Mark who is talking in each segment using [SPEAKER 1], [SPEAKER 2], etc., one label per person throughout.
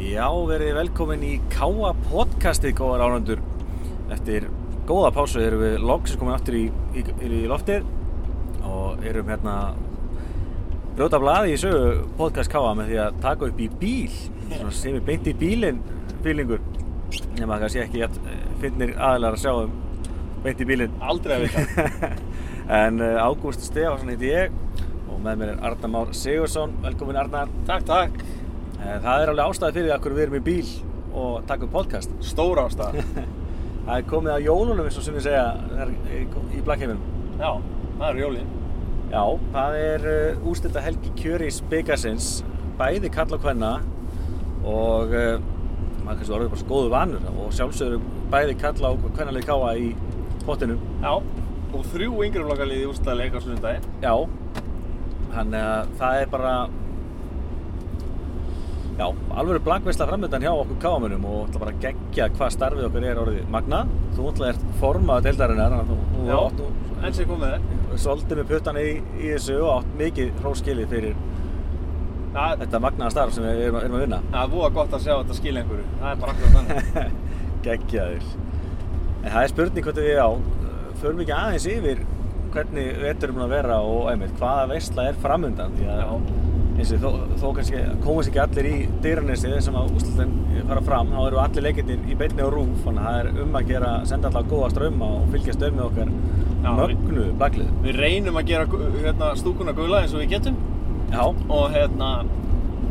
[SPEAKER 1] Já, verið velkomin í Káa podcastið, góðar ánöndur. Eftir góða pásu erum við loksins komin aftur í, í, í loftið og erum hérna brjóta blaði í sögu podcast Káa með því að taka upp í bíl, svona sem er beint í bílinn bílingur, nema það sé ekki að finnir aðlar að sjá um beint í bílinn.
[SPEAKER 2] Aldrei að vita.
[SPEAKER 1] en uh, Ágúst Stefansson heiti ég og með mér er Arnar Már Sigursson, velkomin Arnar.
[SPEAKER 2] Takk, takk.
[SPEAKER 1] Eh, Það er alveg ástæði fyrir því að hverju við erum í bíl og taka upp podcast.
[SPEAKER 2] Stór ástæða.
[SPEAKER 1] Það er komið að jólunum eins og sem við segja þar í- í Blackhaven.
[SPEAKER 2] Já, það eru jólin.
[SPEAKER 1] Já, það er uh, ústilda helgi kjöri spikasins, bæði kall og hvenna og uh, maður kannski orðið bara svo góðu vanur og sjálfsögur bæði kalla og hvennalið káa í pottinum.
[SPEAKER 2] Já. Og þrjú yngri flokkaliði úrstæðileik á sunnudaginn.
[SPEAKER 1] Já, þannig að það er bara Já, alveg blankveisla framöndan hjá okkur káamönum og ætla bara að gegja hvað starfið okkar er orðið magna. Þú ætla ert formaður deildarinnar, þannig að þú- þú átt nú
[SPEAKER 2] Enn sem kom með þeir.
[SPEAKER 1] svolítið með puttana í, í þessu og átt mikið hróskilið fyrir
[SPEAKER 2] Það,
[SPEAKER 1] þetta magnaða starf sem við erum, að- erum að vinna.
[SPEAKER 2] það er búið gott að sjá að þetta skilja einhverju. Það er bara akkurat þannig.
[SPEAKER 1] Geggjaður. En það er spurning hvort við á, förum ekki aðeins yfir hvernig vetur er mun að vera og einmitt, hvaða veistla er framöndan því að eins og þó, þó kannski komast ekki allir í dýranesi sem að úslutin fara fram, þá eru allir leikirnir í beinni og rúf, þannig að það er um að gera senda allar góða strömma og fylgja strömmi okkar
[SPEAKER 2] Já,
[SPEAKER 1] mögnu baklið.
[SPEAKER 2] Við reynum að gera gu- hérna, stúkuna gula eins og við getum.
[SPEAKER 1] Já,
[SPEAKER 2] Og hérna,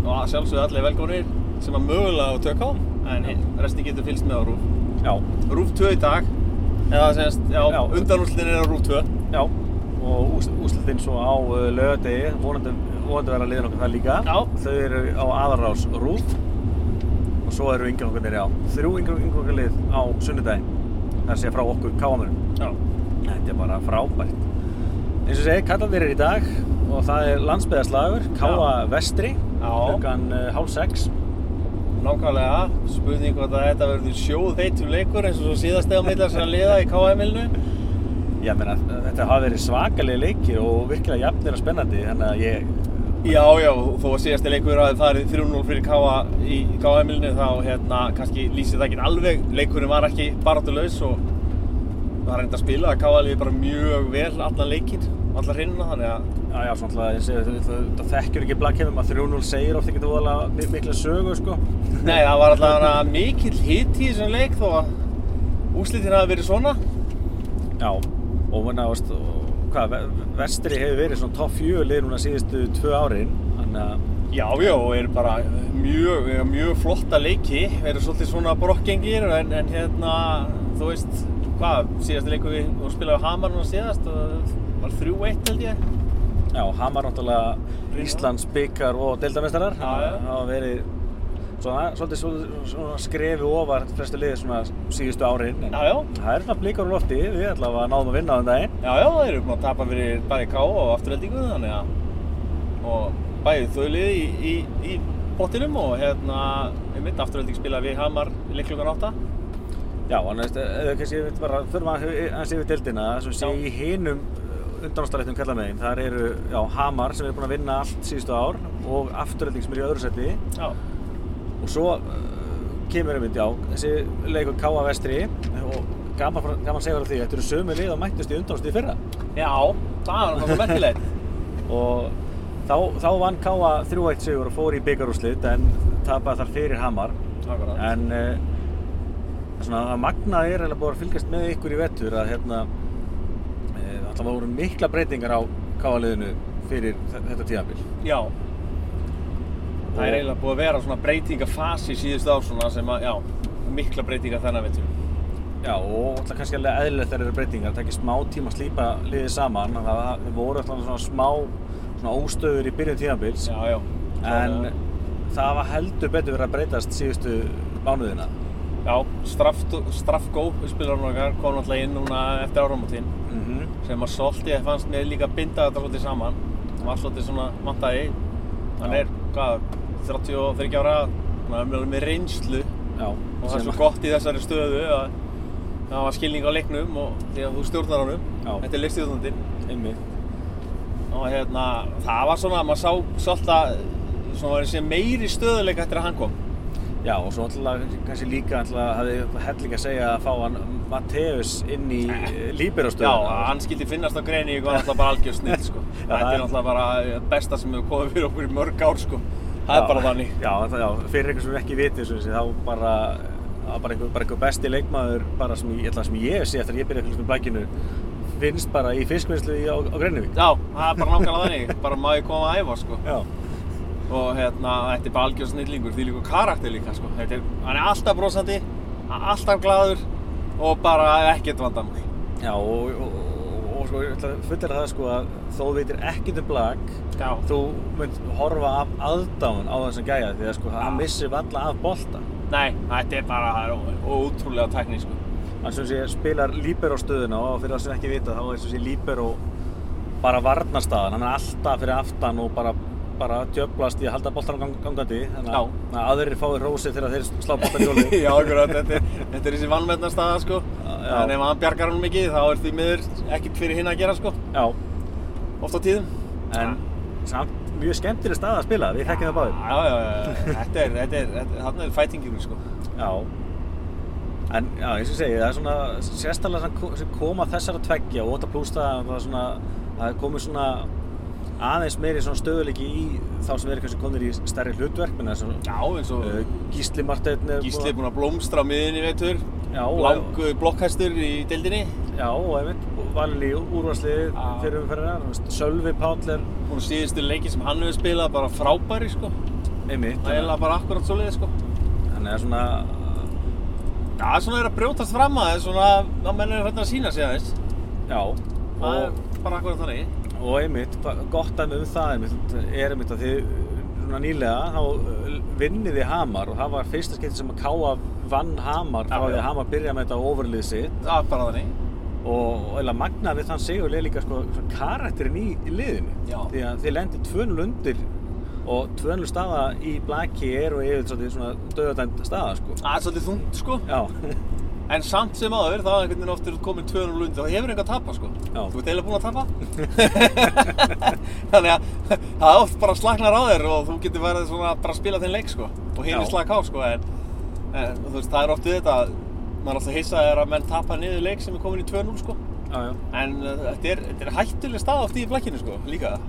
[SPEAKER 2] og að sjálfsögðu allir velgónir sem að mögulega á tök á. En
[SPEAKER 1] Já.
[SPEAKER 2] hitt- resti getur fylgst með á Rúf.
[SPEAKER 1] já,
[SPEAKER 2] Rúf 2 í dag. Eða semst, já,
[SPEAKER 1] Já.
[SPEAKER 2] undanúrslitin er á Rúf 2.
[SPEAKER 1] já og úslutin svo á lögadegi, vonandi, vonandi vera liðin okkar það líka.
[SPEAKER 2] Já.
[SPEAKER 1] Þau eru á aðarrás rúf og svo eru yngri okkar nýri á. Þrjú yngri, yngri okkar lið á sunnudaginn, það sé frá okkur káamurum.
[SPEAKER 2] Já.
[SPEAKER 1] Þetta er bara frábært. Eins og ég segi, kallandir er í dag og það er landsbyðarslagur, Káa
[SPEAKER 2] Já.
[SPEAKER 1] Vestri,
[SPEAKER 2] Já.
[SPEAKER 1] klukkan uh, hálf sex.
[SPEAKER 2] Nákvæmlega, spurning hvort að þetta verður sjóð heitum leikur eins og svo síðast eða millar sem að liða í KM-ilnu.
[SPEAKER 1] Ég meina, þetta hafa verið svakalegi leikir og virkilega jafnir og spennandi, þannig að ég,
[SPEAKER 2] Já, já, þó að síðast leikur að það er 3-0 fyrir KA í KM-ilnu þá hérna kannski lýsir það ekki alveg. Leikurinn var ekki barátulaus og það er reynd að spila að KA liði bara mjög vel allan leikinn, allan hrinna, þannig að
[SPEAKER 1] já, já, svona alltaf, ég segi, þetta- þetta- þetta þekkjur ekki blakkefum að 3-0 segir ofta ekki voðalega mi- mikla sögu, sko.
[SPEAKER 2] Nei, það var alltaf mikill hit í þessum leik þó að úslitin hafi verið svona.
[SPEAKER 1] Já, og menna, veist, og hvað, ve- Vestri hefur verið svona topp fjöli núna síðustu tvö árin, þannig að,
[SPEAKER 2] Já, já, og eru bara mjög, eiga mjög flotta leiki, eru svolítið svona brokkengir en, en hérna, þú veist, hvað, síðasta leiku við, þú spilaði Hamar núna síðast og var 3-1 held ég.
[SPEAKER 1] Já, Hamar náttúrulega Íslands byggar og deildamestarar
[SPEAKER 2] Já, já.
[SPEAKER 1] Það hafa verið svona, svolítið svona, svona skrefi ofar flestu liðið svona síðustu árin en
[SPEAKER 2] Já, já,
[SPEAKER 1] það er svona blíkar úr lofti við allavega náðum að vinna á þann daginn
[SPEAKER 2] já, já, þeir eru búin að tapa fyrir bæði K og afturveldingu þannig að, og bæði þau liði í, í, í bottinum og hérna, við mitt afturvelding spilaði við Hamar í leiklugan 8.
[SPEAKER 1] Já, en veist, eh, eða kannski við bara förum að hans yfir deildina sem sé
[SPEAKER 2] Já.
[SPEAKER 1] í hinum undanástalegtum kallamegin þar eru já, Hamar sem er búin að vinna allt síðustu ár og afturölding sem er í öðru seti
[SPEAKER 2] Já,
[SPEAKER 1] og svo uh, kemur einmitt, já, þessi leikur K.A. Vestri og gaman, frá- gaman segur af því, þetta eru sömu lið og mættust í undanúrslit í fyrra
[SPEAKER 2] já, það var náttúrulega merkilegt.
[SPEAKER 1] og þá, þá vann K.A. 3-1 sigur og fór í byggarúslit en tapaði þar fyrir Hamar
[SPEAKER 2] Akkurat.
[SPEAKER 1] en uh, svona að magnaði er eiginlega búið að fylgjast með ykkur í vettur að hérna uh, alltaf voru mikla breytingar á K.A. liðinu fyrir þe- þetta tíðanbíl
[SPEAKER 2] Já Það er eiginlega búið að vera svona breytingafasi síðust ár svona sem að, já, mikla breytinga þennan veitum
[SPEAKER 1] Já, og alltaf kannski alveg eðlilegt þegar eru breytingar, það tekir smá tíma að slípa liðið saman, þannig að það voru alltaf svona smá svona óstöður í byrjun tímabils,
[SPEAKER 2] Já, já
[SPEAKER 1] en
[SPEAKER 2] Svona-
[SPEAKER 1] það var heldur betur verið að breytast síðustu mánuðina.
[SPEAKER 2] Já, straft, straffgó, spilarinn okkar, kom náttúrulega inn núna eftir áramótin
[SPEAKER 1] Mm
[SPEAKER 2] sem að svolítið fannst mér líka binda þetta svolítið saman Það var svolítið svona mattaði Hann
[SPEAKER 1] Já.
[SPEAKER 2] er, hvað, 33 ára Hann er alveg með reynslu
[SPEAKER 1] Já,
[SPEAKER 2] og það er
[SPEAKER 1] sem-
[SPEAKER 2] svo gott í þessari stöðu að það var skilning á leiknum og því að þú stjórnar honum
[SPEAKER 1] Já.
[SPEAKER 2] Þetta er leikstjórnandinn
[SPEAKER 1] Einmitt.
[SPEAKER 2] og hérna, það var svona, maður sá svolítið að svona var þessi meiri stöðuleika eftir að hann kom
[SPEAKER 1] Já, og svo alltaf, kannski líka alltaf hafði helling að segja að fá hann Matteus inn í eh,
[SPEAKER 2] Já,
[SPEAKER 1] líberastöðuna.
[SPEAKER 2] að hann skildi finnast á greini ykkur var alltaf bara algjör snill sko. Þetta
[SPEAKER 1] það
[SPEAKER 2] er
[SPEAKER 1] er-
[SPEAKER 2] náttúrulega bara eh, besta sem hefur komið fyrir okkur í mörg ár sko. Það er bara þannig.
[SPEAKER 1] Já, það, já, fyrir einhver sem ekki viti þessu, þessi, þá bara, það var bara einhver, bara einhver besti leikmaður bara sem, ég- ætla, sem ég sé eftir að ég byrja að fylgjast með blækinu finnst bara í fiskvinnslu í- á, á Greinivík.
[SPEAKER 2] Já, það er bara nákvæmlega þannig. Bara má ég koma að æfa sko.
[SPEAKER 1] Já,
[SPEAKER 2] Og hérna, þetta er bara algjör snillingur, því líka karakter líka sko. Þetta er, hann er alltaf brosandi, alltaf gladur og bara ekkert vandamál.
[SPEAKER 1] já og, og, og, og sko, ég ætla að fullera það sko að þó þú veitir ekkert um blæk,
[SPEAKER 2] Já.
[SPEAKER 1] þú mynd horfa af aðdáun á þessan gæja því að sko
[SPEAKER 2] Já.
[SPEAKER 1] hann missir valla af bolta.
[SPEAKER 2] Nei, þetta er bara það er ó- ótrúlega tækni sko.
[SPEAKER 1] hann sem sé spilar líberó stöðuna og fyrir það sem ekki vita þá er sem sé líberó bara varnarstaðan, hann er alltaf fyrir aftan og bara, bara djöflast í að halda boltanum gang, gangandi þannig að-
[SPEAKER 2] Já.
[SPEAKER 1] að aðrir fái rósi þegar þeir slá boltan í hjóli
[SPEAKER 2] Já, akkurat, þetta er, þetta er þessi vannmennar staða sko.
[SPEAKER 1] Já.
[SPEAKER 2] Þannig ef hann bjargar hann mikið þá er því miður ekkert fyrir hinn að gera sko.
[SPEAKER 1] Já,
[SPEAKER 2] Oft á tíðum.
[SPEAKER 1] en samt mjög skemmtileg stað að spila, við þekkjum það báðir
[SPEAKER 2] Já, já, já, þetta er, þetta er, þetta, þarna er fætingurinn sko.
[SPEAKER 1] Já En já, eins og ég segi, það er svona sérstæðlega sem ko- sem koma þessara tveggja og 8 plus það, það er svona, það er komið svona aðeins meiri svona stöðuleiki í þá sem eru kannski komnir í stærri hlutverk, menn það er svona
[SPEAKER 2] Já, eins og
[SPEAKER 1] Uh, Gísli Marteinn er
[SPEAKER 2] Eh, Gísli er búinn að blómstra á miðinni í vetur.
[SPEAKER 1] Já, og-
[SPEAKER 2] Langu blokkhæstur í deildinni.
[SPEAKER 1] Já, og einmitt, valin í úrvarsliði
[SPEAKER 2] Já.
[SPEAKER 1] fyrir umferðina þú veist, Sölvi Páll er
[SPEAKER 2] Hún síðustu leiki sem hann hefur spilað bara frábæri sko.
[SPEAKER 1] einmitt
[SPEAKER 2] Það er eiginlega bara akkurat svo sko.
[SPEAKER 1] Þannig að svona
[SPEAKER 2] Það er svona er að brjótast fram að það er svona að menn er hérna að sína sig aðeins.
[SPEAKER 1] Já,
[SPEAKER 2] Það er
[SPEAKER 1] og,
[SPEAKER 2] bara akkurat þannig.
[SPEAKER 1] og einmitt hva- gott dæmi um það einmitt, er einmitt að þið svona nýlega þá uh, vinniði Hamar og það var fyrsta skipti sem að Káa vann Hamar
[SPEAKER 2] Já,
[SPEAKER 1] frá því
[SPEAKER 2] já.
[SPEAKER 1] að Hamar byrjaði með þetta ofurlið sitt
[SPEAKER 2] Það er bara þannig.
[SPEAKER 1] og eða magnaði við þann sigur er líka sko, svona karakterin í, í liðinu
[SPEAKER 2] Já.
[SPEAKER 1] því að þið lendir 2-0 undir og 2-0 staða í blaki er og yfir svolítið svona döðatænd staða sko
[SPEAKER 2] Það er svolítið þungt sko.
[SPEAKER 1] já,
[SPEAKER 2] En samt sem áður, þá er einhvern veginn oftur komin 200 lundi, þá hefur einhver að tapa sko.
[SPEAKER 1] Já.
[SPEAKER 2] Þú ert eiginlega búinn að tapa. Þannig að það er oft bara slagnar á þér og þú getur verið svona bara að spila þinn leik sko. Og
[SPEAKER 1] Já.
[SPEAKER 2] hinni slaka á sko. En, en þú veist, það er oft við þetta, að maður er alltaf hissað er að menn tapa niður leik sem er komin í 2-0 sko.
[SPEAKER 1] já, já
[SPEAKER 2] En uh, þetta er, þetta er hættuleg stað oft í blakkinu sko, líka.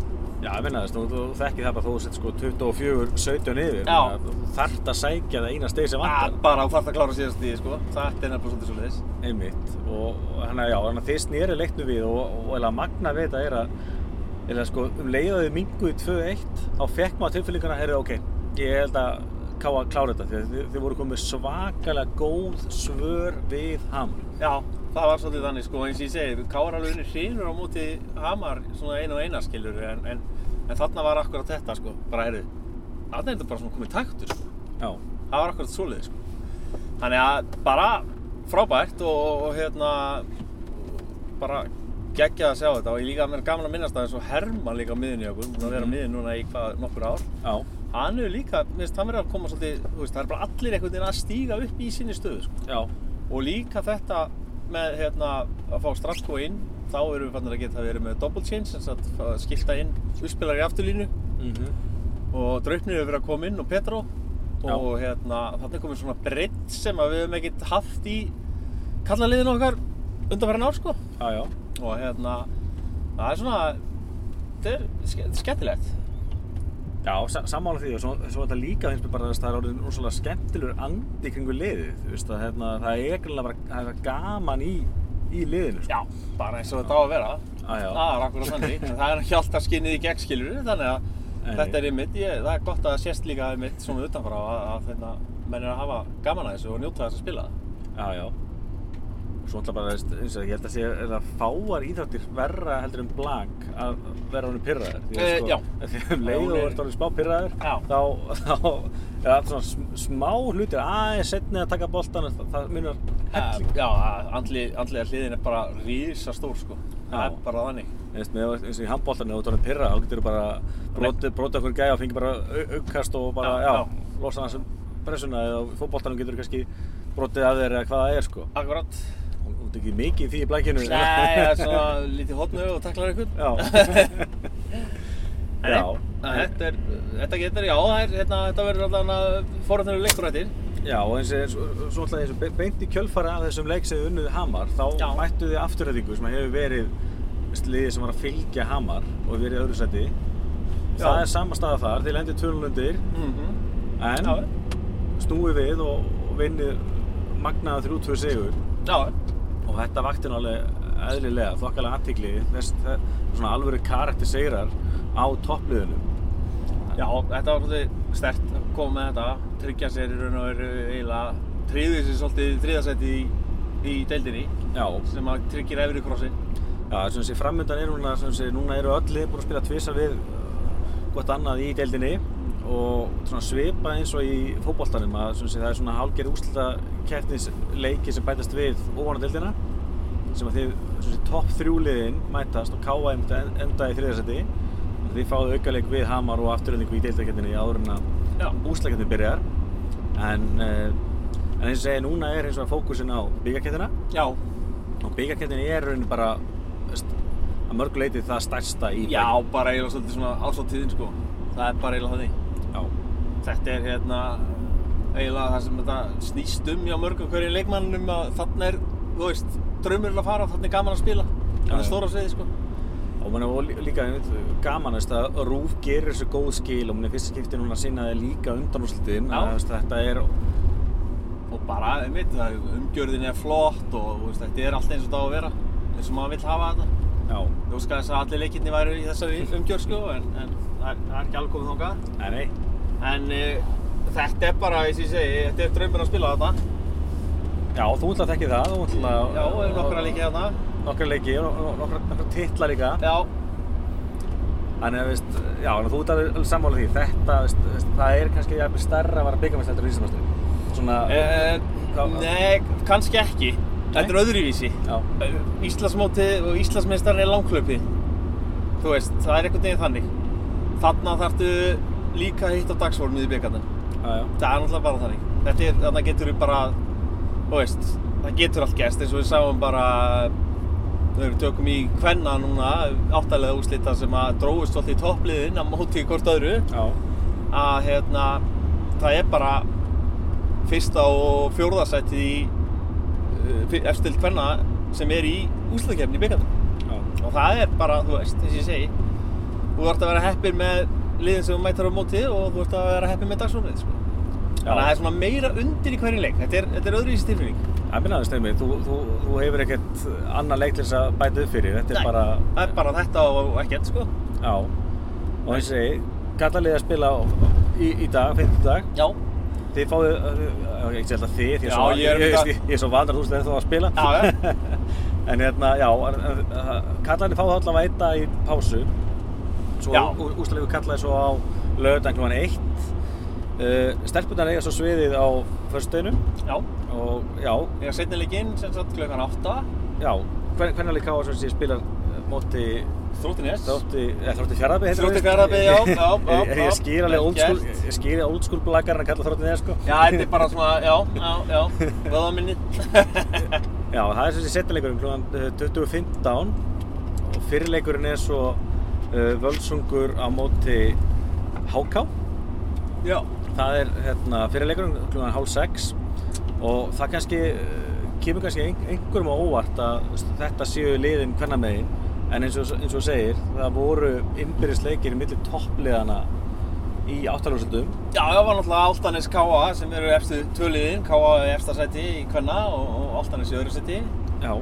[SPEAKER 1] Já, ég minna þess, þú, þú þekkið það bara þó þú sett sko 24-17 yfir þannig
[SPEAKER 2] Já.
[SPEAKER 1] að Þú þarft að sækja það eina steg sem
[SPEAKER 2] Að
[SPEAKER 1] vantar
[SPEAKER 2] bara þú þarft að klára síðast því sko. Þetta er nefnilega svolítið svolítið
[SPEAKER 1] einmitt og hann að já, hann að þið snýri leiknu við og, og, og magna við þetta er að er að sko um leiðaði minguði 2-1 þá fekk maður tilfellingana, heyrðu ok ég held að ká að klára þetta því að þið, þið voru komið svakalega góð svör við hamri
[SPEAKER 2] Já, það var svolítið þannig sko, eins og ég segi, Káar alveg unni hrýnur á móti Hamar, svona einu og eina skilur, en, en, en þarna var akkurat þetta sko, bara heyrðu, þarna er þetta bara svona komið taktur sko,
[SPEAKER 1] já,
[SPEAKER 2] það var akkurat svoleiði sko. Þannig að bara frábært og, og hérna, bara geggjað að sjá þetta og ég líka mér er gaman að minnast að þessu Herman líka á miðinni okkur, búin að vera á
[SPEAKER 1] Mhm.
[SPEAKER 2] miðinni núna í hvað, nokkur ár.
[SPEAKER 1] já,
[SPEAKER 2] Hann er líka, minnst, hann verður að koma svolítið, þú veist, það er bara allir einhvern veginn að stíga upp í sinni stöðu sko
[SPEAKER 1] já,
[SPEAKER 2] og líka þetta með hérna, að fá Stratko inn þá erum við fannir að geta verið með double change sem sagt, að skilta inn uppspilari í afturlínu
[SPEAKER 1] mhm,
[SPEAKER 2] og Draupnir hefur verið að koma inn og Petro
[SPEAKER 1] Já.
[SPEAKER 2] og hérna, þannig er komið svona breytt sem að við hefum ekkert haft í kallaliðinu okkar undanfæran ár sko
[SPEAKER 1] já, já
[SPEAKER 2] og hérna, það er svona þetta er ske- skemmtilegt
[SPEAKER 1] Já, sa- sammála því og svo, svo þetta líka finnst mér bara að það er orðin rosalega skemmtilegur andi í kringu liðið, þú veist að hérna, það er ekkert bara það er gaman í, í liðinu, sko.
[SPEAKER 2] Já, bara eins og þetta á að vera.
[SPEAKER 1] Já, já.
[SPEAKER 2] Það er akkurat þannig. En það er ekki alltaf skinnið í gegn, skilur þannig að
[SPEAKER 1] Nei.
[SPEAKER 2] þetta er ymmit. Ég, það er gott að það sést líka ymmit svona utanfrá að, að þeirna, menn er að hafa gaman að þessu og njóta þess að spila það.
[SPEAKER 1] Já, já. Svo alltaf bara, veist, eins og ég held að sé er það fáar íþjóttir verra heldur en blank að vera honum pyrraður. Því að
[SPEAKER 2] Eh, já.
[SPEAKER 1] Því að um leið og þú
[SPEAKER 2] Já, hún er-
[SPEAKER 1] ert orðin smá pyrraður,
[SPEAKER 2] Já.
[SPEAKER 1] þá, þá, já, svona sm- smá hlutir aðeins setni að taka boltan, það, það munar helling.
[SPEAKER 2] Já, að andli, andliða hliðin er bara rísa stór, sko. Það
[SPEAKER 1] Já.
[SPEAKER 2] er bara þannig.
[SPEAKER 1] Eins, með, eins og í handbóltan, ef þú ert orðin pyrraður, þá getur þú bara brotið broti okkur gæja og fengið bara au- aukast og bara,
[SPEAKER 2] Já,
[SPEAKER 1] já,
[SPEAKER 2] já.
[SPEAKER 1] losa hans um pressuna eða á fótboltanum getur þú kannski brotið að þér eða hvað það er, sko.
[SPEAKER 2] Akkurat.
[SPEAKER 1] Þú þú ert ekki mikið í því í blækinu.
[SPEAKER 2] Nei, það er svona lítið hotnu og taklar ykkur.
[SPEAKER 1] Já.
[SPEAKER 2] En
[SPEAKER 1] Já,
[SPEAKER 2] Þetta er, þetta getur, já, það er, hérna, þetta verður allavega forhættunum leikur hættir.
[SPEAKER 1] Já, og eins og eins og- svo alltaf eins og be- beint í kjölfara af þessum leik sem þið unnuðu Hamar, þá
[SPEAKER 2] Já.
[SPEAKER 1] mættu þið afturræðingu sem hefur verið liðið sem var að fylgja Hamar og verið í öðru seti.
[SPEAKER 2] Já.
[SPEAKER 1] Það er sama staða þar, þið lendir tölunundir,
[SPEAKER 2] Mm -hmm.
[SPEAKER 1] en
[SPEAKER 2] Já,
[SPEAKER 1] snúið við og, og vinnið magnaða 3-2 sigur
[SPEAKER 2] já,
[SPEAKER 1] og þetta vakti nú alveg eðlilega, þokkalega aðtikli, þess, það, svona alvöru karakter sigrar á toppliðinu.
[SPEAKER 2] já, þetta var svolítið stert að koma með þetta, tryggja sér í raun og veru eiginlega, tryggði sér svolítið þriðasætti í, í deildinni,
[SPEAKER 1] Já,
[SPEAKER 2] sem að tryggir efri krossin.
[SPEAKER 1] Já, sem sé, framöndan er núna, sem sé, núna eru öll lið búin að spila tvisa við uh, gott annað í deildinni og svona svipa eins og í fótboltanum að sem sé, það er svona hálgerð úrslita keppnisleiki sem bætast við óvana deildina sem að þið, sem sé, topp þrjúliðin mætast og káa einmitt en- enda í þriðarsæti og þið fáðu aukaleik við Hamar og afturöldingu í deildakeppninni áður en að
[SPEAKER 2] Já,
[SPEAKER 1] úrslakeppnin byrjar en, uh, en eins og segja, núna er eins og fókusin á byggakeppnina
[SPEAKER 2] já,
[SPEAKER 1] og byggarkettin er raunin bara veist, að mörgu leiti það stærsta í
[SPEAKER 2] já, bara eiginlega svolítið svona ásáttíðin, sko. Það er bara eiginlega þannig.
[SPEAKER 1] bæ- já,
[SPEAKER 2] þetta er hérna eiginlega það sem þetta snýst um hjá mörgum hverjum leikmannum að þarna er, þú veist, draumur er að fara, þarna er gaman að spila
[SPEAKER 1] Já,
[SPEAKER 2] það er
[SPEAKER 1] já.
[SPEAKER 2] stóra sviði, sko
[SPEAKER 1] og mann er líka einmitt gaman veist, að Rúf gerir þessu góð skil og mann er fyrsta skipti núna að sinna þið líka undanúrslutin
[SPEAKER 2] Já.
[SPEAKER 1] þetta er
[SPEAKER 2] og bara, einmitt, það er- umgjörðin er flott og þú veist, þetta er allt eins og það á að vera eins og maður vill hafa þetta
[SPEAKER 1] já,
[SPEAKER 2] ég óska þess að allir leikirni væru í þessari umgjörð, sko en, en það er, það er ekki alveg komið þangað
[SPEAKER 1] nei, nei
[SPEAKER 2] en uh, þetta er bara, eins og ég segi, þetta er draumur að spila þetta
[SPEAKER 1] já, þú ætla að þekki það þú ætla að
[SPEAKER 2] já, og nokkra hérna. leikið þarna
[SPEAKER 1] nokkra leiki og nok- nokkra, nokkra titla líka
[SPEAKER 2] já,
[SPEAKER 1] þannig að veist, já, þannig að þú ert alveg alveg sammála því þetta, veist, veist, það er kannski jafnvel stærra að vara byggamest heldur Íslandmestri svona,
[SPEAKER 2] Eh,
[SPEAKER 1] Hvað-
[SPEAKER 2] Nei, kannski ekki. Þetta er öðruvísi.
[SPEAKER 1] já,
[SPEAKER 2] Eh, Íslandsmótið og Íslandsmeistarinn er langklöpið. Þú veist, það er einhvern veginn þannig. Þarna þarftu líka að hitta dagsformið í byggarnir.
[SPEAKER 1] já, já
[SPEAKER 2] Það er náttúrulega bara þannig. Þetta er, þarna getur við bara, þú veist, það getur allt gerst eins og við sáum bara þegar við tökum í kvenna núna áttalega úslita sem að dróðust svolítið í toppliðin að móti hvort öðru
[SPEAKER 1] já,
[SPEAKER 2] að hérna, það er bara fyrsta og fjórðasættið í uh, efstild hvenna sem er í úslagkefni í byggandum
[SPEAKER 1] já.
[SPEAKER 2] og það er bara, þú veist, þess ég segi þú ert að vera heppin með liðin sem þú mætar á móti og þú ert að vera heppin með dagsfórnið sko. þannig að það er svona meira undir í hverjum leik þetta er, þetta er öðruvísi tilfinning
[SPEAKER 1] Það minna aðeins nefnir, þú, þú, þú hefur ekkert annað leik til þess að bæta upp fyrir, þetta er
[SPEAKER 2] Nei,
[SPEAKER 1] bara,
[SPEAKER 2] það er bara þetta og ekkert sko.
[SPEAKER 1] já, og eins og segi, Katalið að spila á- í, í dag, 50 dag,
[SPEAKER 2] já,
[SPEAKER 1] þið fáið, eh, ok, ekki held að þið, því
[SPEAKER 2] Já,
[SPEAKER 1] að svo,
[SPEAKER 2] ég er
[SPEAKER 1] ég,
[SPEAKER 2] um
[SPEAKER 1] ég, ég er svo vandrar þú veist ennþá að spila,
[SPEAKER 2] já, já,
[SPEAKER 1] en eh, hérna, já, Katalið fáið allavega einn dag í pásu, svo
[SPEAKER 2] Já.
[SPEAKER 1] úrstæðlegu kallaði svo á lögðan klúan 1, uh, stelpunar eiga svo sviðið á föstudeginum
[SPEAKER 2] já
[SPEAKER 1] og já,
[SPEAKER 2] ég er setna leikinn sem sagt klukkan 8
[SPEAKER 1] já, hvernig líka á þess að ég spila eh, móti
[SPEAKER 2] þróttinnes
[SPEAKER 1] Þrótti, eða Þrótti Fjarðabæði
[SPEAKER 2] Þrótti Fjarðabyggð, já, já, já,
[SPEAKER 1] Er ég
[SPEAKER 2] já.
[SPEAKER 1] skýr alveg
[SPEAKER 2] Vel
[SPEAKER 1] old school,
[SPEAKER 2] gert.
[SPEAKER 1] ég skýr old school blakkarinn að kalla Þrótti neða sko
[SPEAKER 2] Já, þetta er bara svona, já, já, já, vöða minni.
[SPEAKER 1] Já, það er sem sé setjaleikurinn klúan 2015 eh, og fyrirleikurinn er svo uh, völsungur á móti HK
[SPEAKER 2] já,
[SPEAKER 1] Það er hérna fyrirleikurinn klúan hálf 6 og það kannski uh, kemur kannski ein- einhverjum á óvart að þetta séu liðin hvernig megin en eins og, eins og segir, það voru innbyrðisleikir millir toppliðana í áttaljósöldum
[SPEAKER 2] já, það var náttúrulega Altanes K.A. sem eru efstu töliðin, K.A. í efsta sæti í kvenna og, og Altanes í öðru sæti
[SPEAKER 1] Já,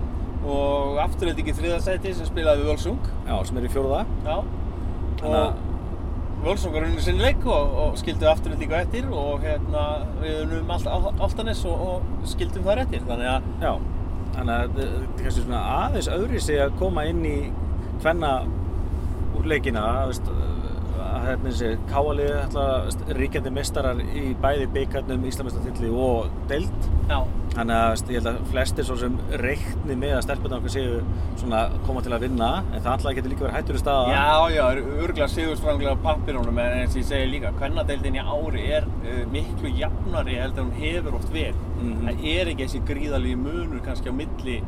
[SPEAKER 2] og afturreitingi þriða sæti sem spilaði við Völsung,
[SPEAKER 1] Já, sem er í fjórða.
[SPEAKER 2] já,
[SPEAKER 1] Þannig að-
[SPEAKER 2] og Völsung var unni sinni leik og, og skildu afturreitingu eftir og hérna við unum Alt- Al- Altanes og, og skildum þar eftir, þannig að
[SPEAKER 1] Já. Þannig að þetta er kannski svona aðeins öðri sig að koma inn í hvenna úrleikina, veist, að hérna þessi káalið ætla veist, ríkjandi mestarar í bæði beikarnum, íslamistatilli og deild.
[SPEAKER 2] Já,
[SPEAKER 1] Þannig að veist, ég held að flestir svo sem reikni með að stelpunna okkar séu svona koma til að vinna, en það alltaf getur líka verið hættur í staða.
[SPEAKER 2] já, já, eru örgulega sigurstranglega á pappirunum en eins og ég segi líka, kvennadeildin í ári er uh, miklu jafnari heldur en hún hefur oft verið.
[SPEAKER 1] Mhm.
[SPEAKER 2] Það er ekki þessi gríðalegi munur kannski á milli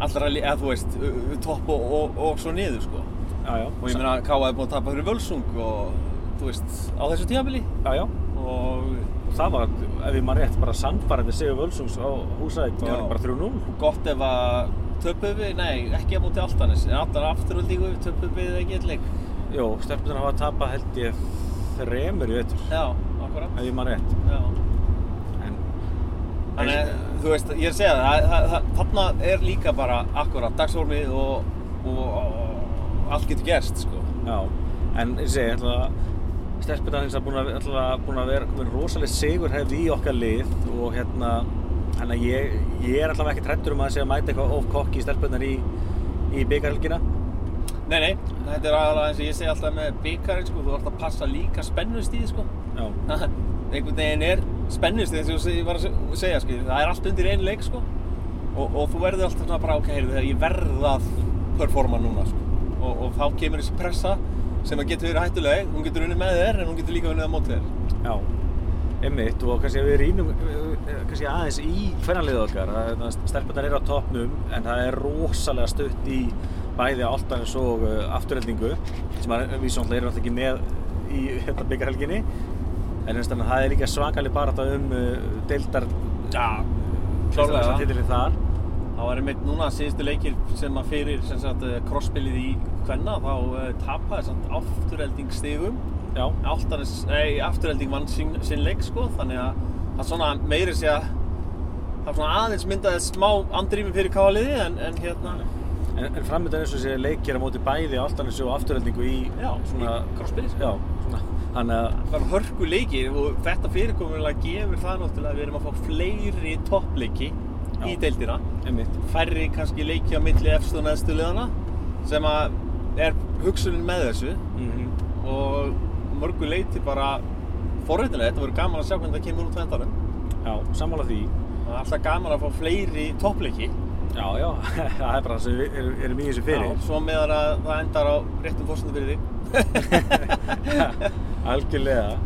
[SPEAKER 2] allra, li- eða þú veist, uh, topp og, og, og svo niður sko.
[SPEAKER 1] já, já.
[SPEAKER 2] og ég meina K.A. er búin að tapa fyrir völsung og þú veist, á þessu tímabili
[SPEAKER 1] Já, já.
[SPEAKER 2] og
[SPEAKER 1] Og það var, ef ég maður rétt, bara sandfærandi Sigur Völsungs á húsæði. Það var
[SPEAKER 2] Já.
[SPEAKER 1] bara 3-0.
[SPEAKER 2] gott ef að töpuðum við, nei, ekki á móti Altanis en Altan afturöldingu við töpuðum við ekki eitt leik
[SPEAKER 1] Jó, stelpunar hafa tapað held ég þremur í vettur,
[SPEAKER 2] já, akkurat
[SPEAKER 1] ef ég maður rétt.
[SPEAKER 2] já.
[SPEAKER 1] En,
[SPEAKER 2] þannig, að, þú veist, ég er að segja það, það, það þarna er líka bara akkurat dagsórmið og, og, og allt getur gerst, sko
[SPEAKER 1] já, en ég segi, ætla að stelpunar hins að búin að, ætla að, búin að vera komin rosalega sigur hefði í okkar lið og hérna, þannig að ég, ég er allavega ekki trættur um að segja að mæta eitthvað of kokki stelpunar í, í byggarhelgina.
[SPEAKER 2] nei, nei, þetta er aðalega eins og ég segi alltaf með byggarinn, sko, þú ert að passa líka spennustíð, sko
[SPEAKER 1] Já,
[SPEAKER 2] einhvern veginn er spennust eins og ég var að se- segja sko. það er allt undir einn leik sko. og, og þú verður alltaf svona bara ok, heyrðu, þegar ég verð að performa núna sko. og, og þá kemur þessi pressa sem að getur verið hættuleg hún getur unnið með þér en hún getur líka unnið á móti þér
[SPEAKER 1] já. Einmitt og kannski að við rínum eh, kannski aðeins í hvernanlið okkar stelpunar eru á toppnum en það er rosalega stutt í bæði áltanis og uh, afturheldingu sem að við svona erum alltaf ekki með í hérna byggarhelginni en finnst þannig að það er líka svakalig barata um uh, deildar
[SPEAKER 2] Já,
[SPEAKER 1] þess að
[SPEAKER 2] klárlega
[SPEAKER 1] titilin þar
[SPEAKER 2] Það var einmitt núna síðustu leikir sem að fyrir sem sagt, eh, crossspilið í Kvenna þá uh, tapaði samt afturhelding stigum
[SPEAKER 1] já,
[SPEAKER 2] Altanis, nei, afturhelding vann sín, sín leik sko, þannig að það svona meiri sé að það svona aðeins myndaði smá andrými fyrir káliði en, en hérna,
[SPEAKER 1] en, en framöndan eins og sé leikir á móti bæði áltanis og afturheldingu í
[SPEAKER 2] já, svona
[SPEAKER 1] svona,
[SPEAKER 2] crossspilið sko.
[SPEAKER 1] já, svona þannig að,
[SPEAKER 2] Það var hörku leikir og þetta fyrirkomulega gefur það náttúrulega að við erum að fá fleiri toppleiki í
[SPEAKER 1] Já.
[SPEAKER 2] deildina
[SPEAKER 1] einmitt
[SPEAKER 2] færri kannski leiki á milli efstu og neðstu liðana sem að er hugsunin með þessu
[SPEAKER 1] mm
[SPEAKER 2] Mhm. og mörgu leiti bara forréttilega, þetta verður gaman að sjá hvernig það kemur út vendanum
[SPEAKER 1] já, sammála því
[SPEAKER 2] það er alltaf gaman að fá fleiri toppleiki
[SPEAKER 1] Já, já, það er bara það sem við erum, erum í þessu
[SPEAKER 2] Já,
[SPEAKER 1] fyrir.
[SPEAKER 2] svo meðan að það endar á réttum fórsöndu fyrir þig
[SPEAKER 1] Algjörlega.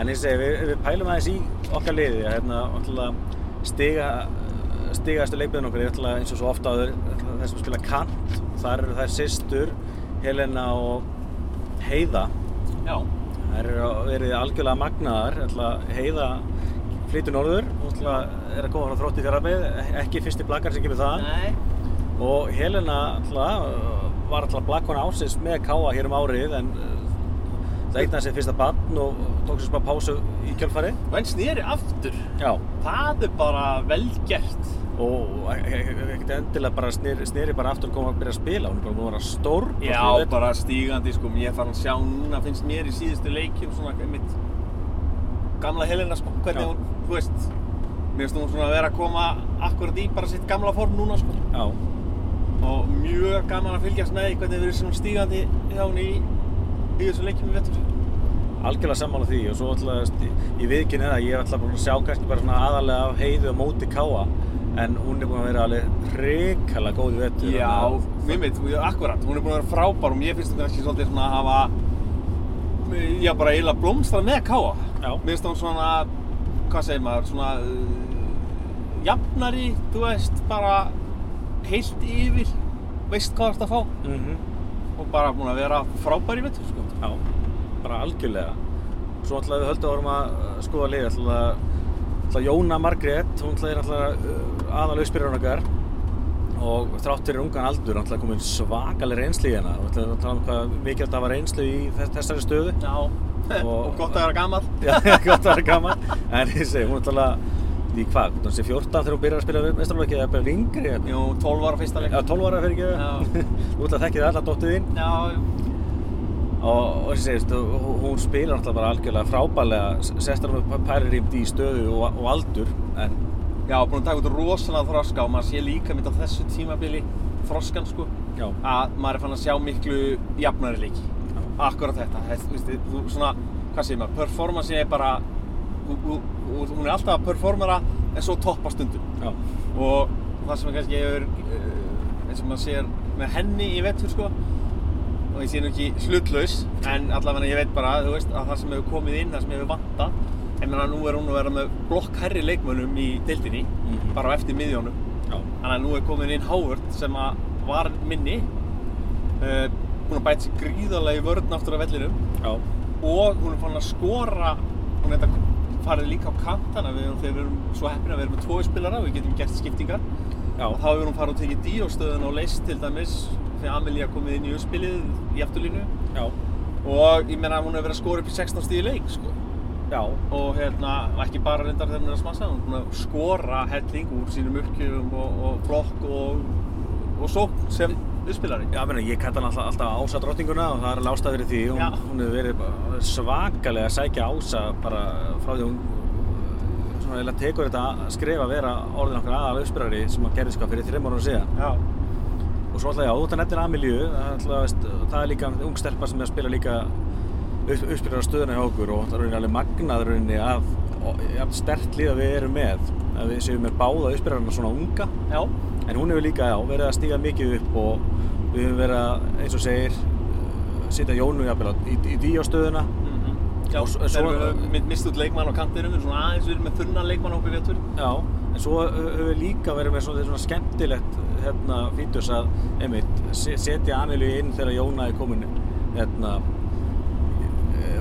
[SPEAKER 1] En ég segi, við, við pælum aðeins í okkar liði. að Hérna, alltaf stiga, stigastu leikmiðin okkar er alltaf eins og svo ofta áður náttúrulega þær sem spila kant. Þar eru þær systur, Helena og Heiða.
[SPEAKER 2] já,
[SPEAKER 1] Þær eru verið algjörlega magnaðar. Alltaf Heiða flytur norður, hún náttúrulega er að koma frá þrótti fjárrafið, ekki fyrsti blakar sem kemur þaðan.
[SPEAKER 2] nei
[SPEAKER 1] Og Helena alltaf var alltaf blakkona ásins með Káa hér um árið en uh, það eignaði sér fyrsta bann og tók sér smá pásu í kjölfari.
[SPEAKER 2] og eins nýri aftur
[SPEAKER 1] Já.
[SPEAKER 2] það er bara vel gert
[SPEAKER 1] Og e- e- e- ekkert endilega bara sneri, sneri bara aftur og kom að byrja að spila. Hún er bara búin að vera stór.
[SPEAKER 2] já, bara stígandi sko, ég fara að sjá núna finnst mér í síðustu leikjum svona mitt gamla Helena sko, hvernig
[SPEAKER 1] Já.
[SPEAKER 2] hún, þú veist mér finnst hún svona að vera að koma akkurat í bara sitt gamla form núna sko
[SPEAKER 1] Já,
[SPEAKER 2] og mjög gaman að fylgjast með því hvernig við erum svona stígandi hjá hún í, í þessum leikjum í vettur
[SPEAKER 1] algjörlega sammála því og svo alltaf, ég viðkynna það, ég er alltaf búin að sjá kannski bara svona aðalega af heiðu og móti Káa en hún er búin að vera alveg hrikalega góð í vettur.
[SPEAKER 2] Já, mér veit, hún- akkurat, hún er búin að vera frábær og mér finnst hún kannski svolítið svona að hafa Já, bara eiginlega blómstra með Káa
[SPEAKER 1] Já.
[SPEAKER 2] Mér finnst hún svona, hvað segir maður, svona uh, jafnari, þú veist, bara heilt yfir veist hvað þú ert að fá
[SPEAKER 1] Mm
[SPEAKER 2] og bara búin að vera frábær í vettur, sko
[SPEAKER 1] Já, bara algjörlega. Svo alltaf við höldum að vorum að skoða liðið, alltaf, alltaf Jóna Margrét, hún alltaf er alltaf aðal auðspyrjun okkar og þrátt fyrir ungan aldur, alltaf komin svakaleg reynsli í hérna. Alltaf að tala um hvað mikilvægt að hafa reynslu í þess- þessari stöðu.
[SPEAKER 2] Já Og,
[SPEAKER 1] Og-
[SPEAKER 2] gott að vera gamall
[SPEAKER 1] Já, gott að vera gaman. En ég segi, hún alltaf í hvað, hún sé 14 þegar hún byrjar að spila mestralókið eða bara yngri, eða-
[SPEAKER 2] Jú, 12 ára fyrsta leik
[SPEAKER 1] eða 12 ára fyrir
[SPEAKER 2] Já.
[SPEAKER 1] ekki. Þú alltaf þekkir alla dóttið þín.
[SPEAKER 2] Já,
[SPEAKER 1] og, og ég segist, hún hún spilar náttúrulega bara algjörlega frábælega sestar hún með pærirýmd í stöðu og, og aldur en
[SPEAKER 2] já, búin að taka út rosalega þroska og maður sé líka mitt á þessu tímabili þroskan, sko
[SPEAKER 1] já,
[SPEAKER 2] að maður er fann að sjá miklu jafnari leiki
[SPEAKER 1] Já.
[SPEAKER 2] akkurat þetta þetta, þú veist, þú svona, hvað segir maður, performance er bara þú- þú- þú- hún er alltaf að performera en svo toppa stundum
[SPEAKER 1] já,
[SPEAKER 2] og það sem kannski hefur eh, eins og maður sér með henni í vettur sko og ég sé nú ekki hlutlaus en allavega ég veit bara, þú veist, að það sem hefur komið inn það sem hefur vantað en meina nú er hún að vera með blokk herri leikmönnum í deildinni
[SPEAKER 1] Mhm.
[SPEAKER 2] bara á eftir miðjónum
[SPEAKER 1] já,
[SPEAKER 2] Þannig að nú er komin inn Howard sem að var minni uh, hún er bætt sér gríðarlega í vörn aftur á vellinum
[SPEAKER 1] Já,
[SPEAKER 2] og hún er fann að skora hún er þetta farið líka á kantana við erum, þegar við erum svo heppin að við erum með tvoi spilara við getum gert skiptingar
[SPEAKER 1] já,
[SPEAKER 2] og þá hefur hún farið og tekið díóstöðun og leist til dæmis þegar Amelia komið inn í uppspilið í afturlínu
[SPEAKER 1] já,
[SPEAKER 2] og ég meina hún hefur verið að skora upp í 16 stíði leik sko.
[SPEAKER 1] já,
[SPEAKER 2] og hérna, ekki bara reyndar þegar hún er að smassa hún er búin að skora helling úr sínum uppgjöfum og, og blokk og, og sókn sem uppspilari
[SPEAKER 1] Já, meni, ég kalla hann alltaf, alltaf Ása drottninguna og það er alveg ástæð fyrir því.
[SPEAKER 2] Já.
[SPEAKER 1] Hún, hún hefur verið bara svakalega að sækja Ása bara frá því hún uh, svona eiginlega tekur þetta skref að vera orðin okkar aðal uppspyrari sem að gerði sko fyrir þreim árum síðan.
[SPEAKER 2] Já,
[SPEAKER 1] Og svo alltaf já, þú ert að nefnir Amelíu, það er alltaf, veist, það er líka ung stelpa sem er að spila líka upp, uppspyrara hjá okkur og það er rauninni alveg magnað rauninni að ja, stert lið að við erum með að við séum með báða uppspyrarna svona unga
[SPEAKER 2] já,
[SPEAKER 1] En hún hefur líka já, verið að stíga mikið upp og við höfum verið að, eins og segir, uh, setja Jónu jafnvel í, í díóstöðuna.
[SPEAKER 2] mm já
[SPEAKER 1] Og s-
[SPEAKER 2] svo,
[SPEAKER 1] svo-
[SPEAKER 2] þegar við höfum mist út leikmann á kantinum við erum svona aðeins við erum með þunna leikmann okkur vettur
[SPEAKER 1] Já, en svo uh, höfum við líka verið með svona, svona skemmtilegt hérna, fítus að einmitt, se- setja Amelíu inn þegar Jóna er komin hérna,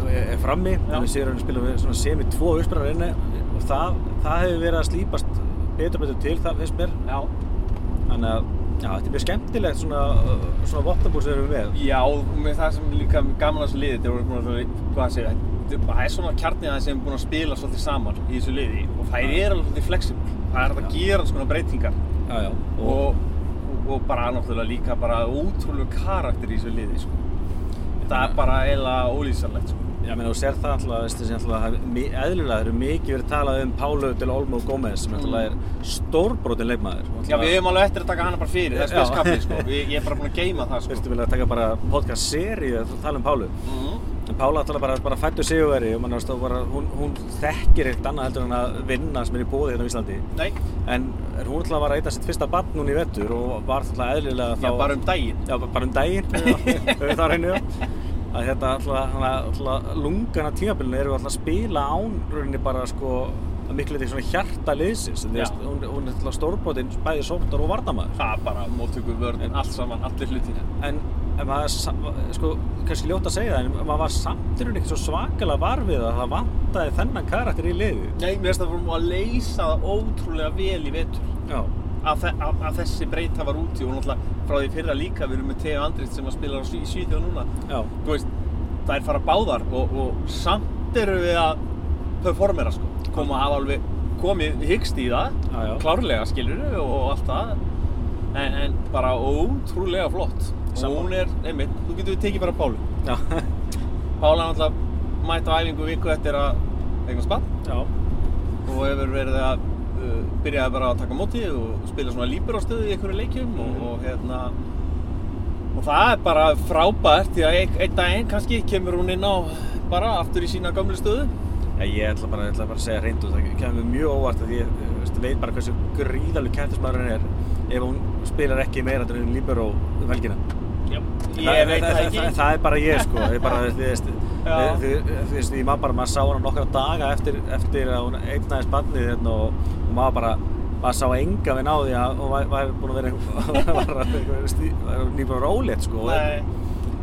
[SPEAKER 1] eh, er frammi.
[SPEAKER 2] Já.
[SPEAKER 1] Þannig séður hann að spila við svona semi tvo uppspyrrar inni og það, það hefur verið að slípast betur og betur til það finnst mér.
[SPEAKER 2] Já
[SPEAKER 1] Þannig að já, þetta er mjög skemmtilegt svona, uh, svona vopnabúr sem við erum með.
[SPEAKER 2] Já, og með það sem líka gaman að þessu liði þetta er búin að, hvað að segja þetta er- það er svona kjarnið aðeins sem er búin að spila svolítið saman í þessu liði og það er alveg svolítið flexible það er hægt að gera svona breytingar
[SPEAKER 1] Já, já.
[SPEAKER 2] og, og, og bara náttúrulega líka bara ótrúlegu karakter í þessu liði sko. það er bara eiginlega ólýsanlegt sko.
[SPEAKER 1] Já, menn, þú sér það alltaf, veistu, sem alltaf, það er mi- eðlilega, það eru mikið verið talað um Paulo del Olmo Gómez, sem alltaf er stórbrotin leikmaður. Og
[SPEAKER 2] Mm. Já,
[SPEAKER 1] náttúrulega-
[SPEAKER 2] við hefum alveg eftir að taka hana bara fyrir, það er
[SPEAKER 1] Já.
[SPEAKER 2] spilskapið, sko. Við, ég er bara búinn að geima það, sko.
[SPEAKER 1] Fyrstu vilja taka bara podcast-seríu að tala um Pálu.
[SPEAKER 2] Mm.
[SPEAKER 1] En Pála alltaf bara, bara fættu sigurveri og mann, veistu, bara, hún, hún þekkir eitt annað heldur en að vinna sem er í bóði hérna á Íslandi.
[SPEAKER 2] Nei,
[SPEAKER 1] En er hún alltaf var að reyta sitt fyrsta barn núna í vettur og var alltaf eðlilega þá...
[SPEAKER 2] já, bara um daginn.
[SPEAKER 1] Já, bara um daginn, höfum það á reynu, já. Að hérna þetta alltaf, alltaf lungana tímabilinu erum við alltaf að spila án rauninni bara sko að miklu þetta svona hjarta liðsins. Þú
[SPEAKER 2] Já.
[SPEAKER 1] veist, Hún, hún er alltaf stórbótinn, bæði sóknar og varnamaður.
[SPEAKER 2] Það er bara móttöku vörðin, allt saman, allir hlutina.
[SPEAKER 1] En, en maður, er sa- sko, kannski ljótt að segja það, en maður var samt í rauninni ekki svo svakalega varfið að það vantaði þennan karakter í liðið.
[SPEAKER 2] Nei, mér finnst það fórum að leysa það ótrúlega vel í vetur.
[SPEAKER 1] Já,
[SPEAKER 2] Að, þe að, að þessi breyta var úti og náttúrulega frá því fyrra líka, við erum með Teo Andrið sem að spila á Sví- í Svíþjóð núna.
[SPEAKER 1] já,
[SPEAKER 2] þú veist, það er fara báðar og, og samt eru við að performera sko, koma að hafa alveg komið hyggst í það,
[SPEAKER 1] Já, já.
[SPEAKER 2] klárlega skilur og allt það en, en bara ótrúlega flott og
[SPEAKER 1] Sammála.
[SPEAKER 2] hún er, einmitt, þú getur við tekið bara Pálu
[SPEAKER 1] já,
[SPEAKER 2] Pála er náttúrulega mætt á æfingu viku eftir að eignast bann
[SPEAKER 1] já,
[SPEAKER 2] og hefur verið að uh, byrjaði bara að taka á móti og spila svona líbur á stöðu í einhverju leikjum
[SPEAKER 1] Mhm.
[SPEAKER 2] og, og hérna og það er bara frábært því að ein, einn daginn kannski kemur hún inn á bara aftur í sína gamlu stöðu
[SPEAKER 1] Já, ég ætla bara, ég ætla bara að segja reyndu, það kemur mjög óvart að ég þú veist, veit bara hversu gríðalega kæftismæður henn er ef hún spilar ekki meira en hún lípar og um helgina.
[SPEAKER 2] Já, ég
[SPEAKER 1] Það-
[SPEAKER 2] veit það ekki
[SPEAKER 1] Það, það er bara ég sko, ég bara, þú veist,
[SPEAKER 2] Já.
[SPEAKER 1] þú- þú þú veist, ég maður bara, maður sá hana nokkra daga eftir, eftir að hún eignaðist barnið hérna og, og maður bara, maður sá enga við náði að hún var, var búin að vera, einhver- var, var, var nýbúin að vera ólétt sko.
[SPEAKER 2] Nei.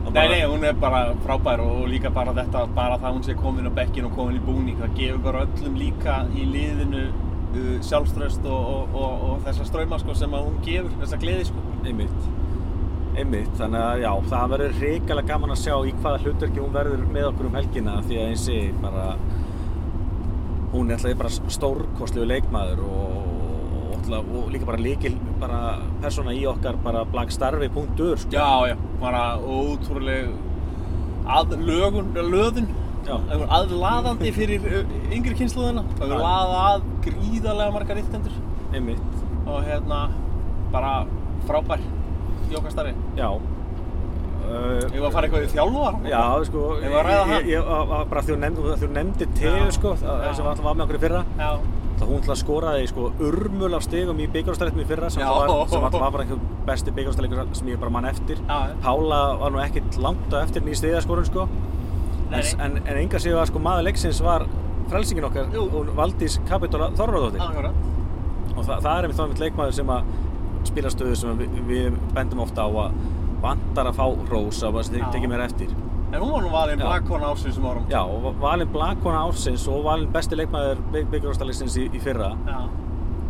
[SPEAKER 1] Og
[SPEAKER 2] Nei,
[SPEAKER 1] bara-
[SPEAKER 2] nei, hún er bara frábær og og líka bara þetta, bara það að hún sé komin á bekkin og komin í búning, það gefur bara öllum líka í liðinu uh, sjálfströst og, og, og, og þessa ströma sko, sem að hún gefur, þessa gleði sko.
[SPEAKER 1] Einmitt. Einmitt, þannig að já, það verður hrikalega gaman að sjá í hvaða hlutverki hún verður með okkur um helgina því að eins og bara hún er alltaf bara stórkostlegu leikmaður og, og, alltaf, og líka bara líkil bara persóna í okkar bara blagstarfi.ur sko.
[SPEAKER 2] Já, já, bara ótrúleg aðlögun, löðun,
[SPEAKER 1] Já.
[SPEAKER 2] það hefur aðlaðandi fyrir ö, yngri kynsluðina, það hefur
[SPEAKER 1] Já.
[SPEAKER 2] laðað að gríðarlega margar íttendur
[SPEAKER 1] sko. Einmitt,
[SPEAKER 2] og hérna bara frábær í okkar starfi.
[SPEAKER 1] já. Uh,
[SPEAKER 2] Ég var að fara eitthvað í þjálfar.
[SPEAKER 1] Já, sko,
[SPEAKER 2] Eigum við að ræða hann?
[SPEAKER 1] ég, ég, ég, bara því hún nefndi, því hún nefndi
[SPEAKER 2] Já.
[SPEAKER 1] tegu, sko, það,
[SPEAKER 2] Já.
[SPEAKER 1] sem var alltaf var með okkur í fyrra.
[SPEAKER 2] Já,
[SPEAKER 1] Það hún til að skoraði sko urmul af stigum í byggjárstæðinu í fyrra sem
[SPEAKER 2] Já.
[SPEAKER 1] það var, sem alltaf var bara einhver besti byggjárstæðleikur sem ég bara mann eftir.
[SPEAKER 2] já, já.
[SPEAKER 1] Pála var nú ekkert langt á eftir henni í stiðaskorun sko.
[SPEAKER 2] Nei, nei.
[SPEAKER 1] En, en, en enga séu að sko maður leiksins var frelsingin okkar,
[SPEAKER 2] Jú.
[SPEAKER 1] hún Valdís Kapitola Þorvarðóttir.
[SPEAKER 2] Akkurat.
[SPEAKER 1] Og það, það er einmitt þá einmitt leikmaður sem að spila stöðu sem við, við bendum ofta á að vantar að fá hrós af að
[SPEAKER 2] Já.
[SPEAKER 1] tekið mér eftir
[SPEAKER 2] En hún var nú valin
[SPEAKER 1] Já.
[SPEAKER 2] blakkon ásins um árum.
[SPEAKER 1] Já, og valin blakkona ársins og valin besti leikmaður byggjurvastalinsins í, í fyrra
[SPEAKER 2] Já.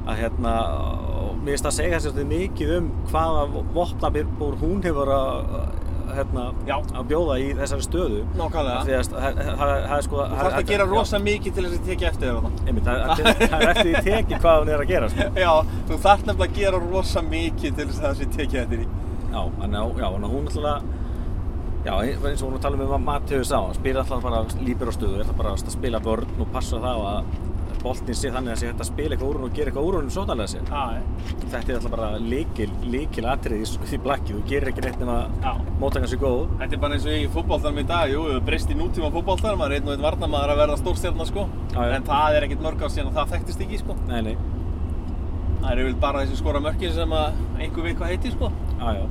[SPEAKER 1] að hérna, og mér finnst að segja þessi svolítið mikið um hvaða vopnabúr hún hefur að hérna,
[SPEAKER 2] Já.
[SPEAKER 1] að bjóða í þessari stöðu
[SPEAKER 2] Nákvæmlega.
[SPEAKER 1] Af því að það það- það er sko
[SPEAKER 2] Þú þarfst að gera rosa mikið til þess að tekja eftir þér þarna.
[SPEAKER 1] einmitt, það, það, það er eftir því tekið hvað hún er að gera sko.
[SPEAKER 2] Já, þú þarft nefnilega að gera rosa mikið til þess að það sé tekið eftir því.
[SPEAKER 1] Já, en já, já, en hún alltaf Já, eins og hún var að tala um að Matti hefur sá, hann spyr alltaf bara lípir á stöðu, er það bara að spila vörn og passa það að boltinn sé þannig að sé hægt að spila eitthvað úr hún og gera eitthvað úr hún sótalega sér.
[SPEAKER 2] Já,
[SPEAKER 1] Þetta er alltaf bara líkil, líkil atrið í, í blakki, þú gerir ekki neitt nema
[SPEAKER 2] já.
[SPEAKER 1] móttakans er góð.
[SPEAKER 2] Þetta er bara eins og í fótboltanum í dag, jú, við breyst í nútíma fótboltanum, maður er einn og einn varnamaður að verða stórstjarnar, sko.
[SPEAKER 1] Já, já.
[SPEAKER 2] En það er ekkert mörg á síðan að það þekktist ekki, sko.
[SPEAKER 1] Nei, nei,
[SPEAKER 2] Það eru vel bara þessi skora mörkin sem að einhver veit hvað heitir, sko.
[SPEAKER 1] já, já.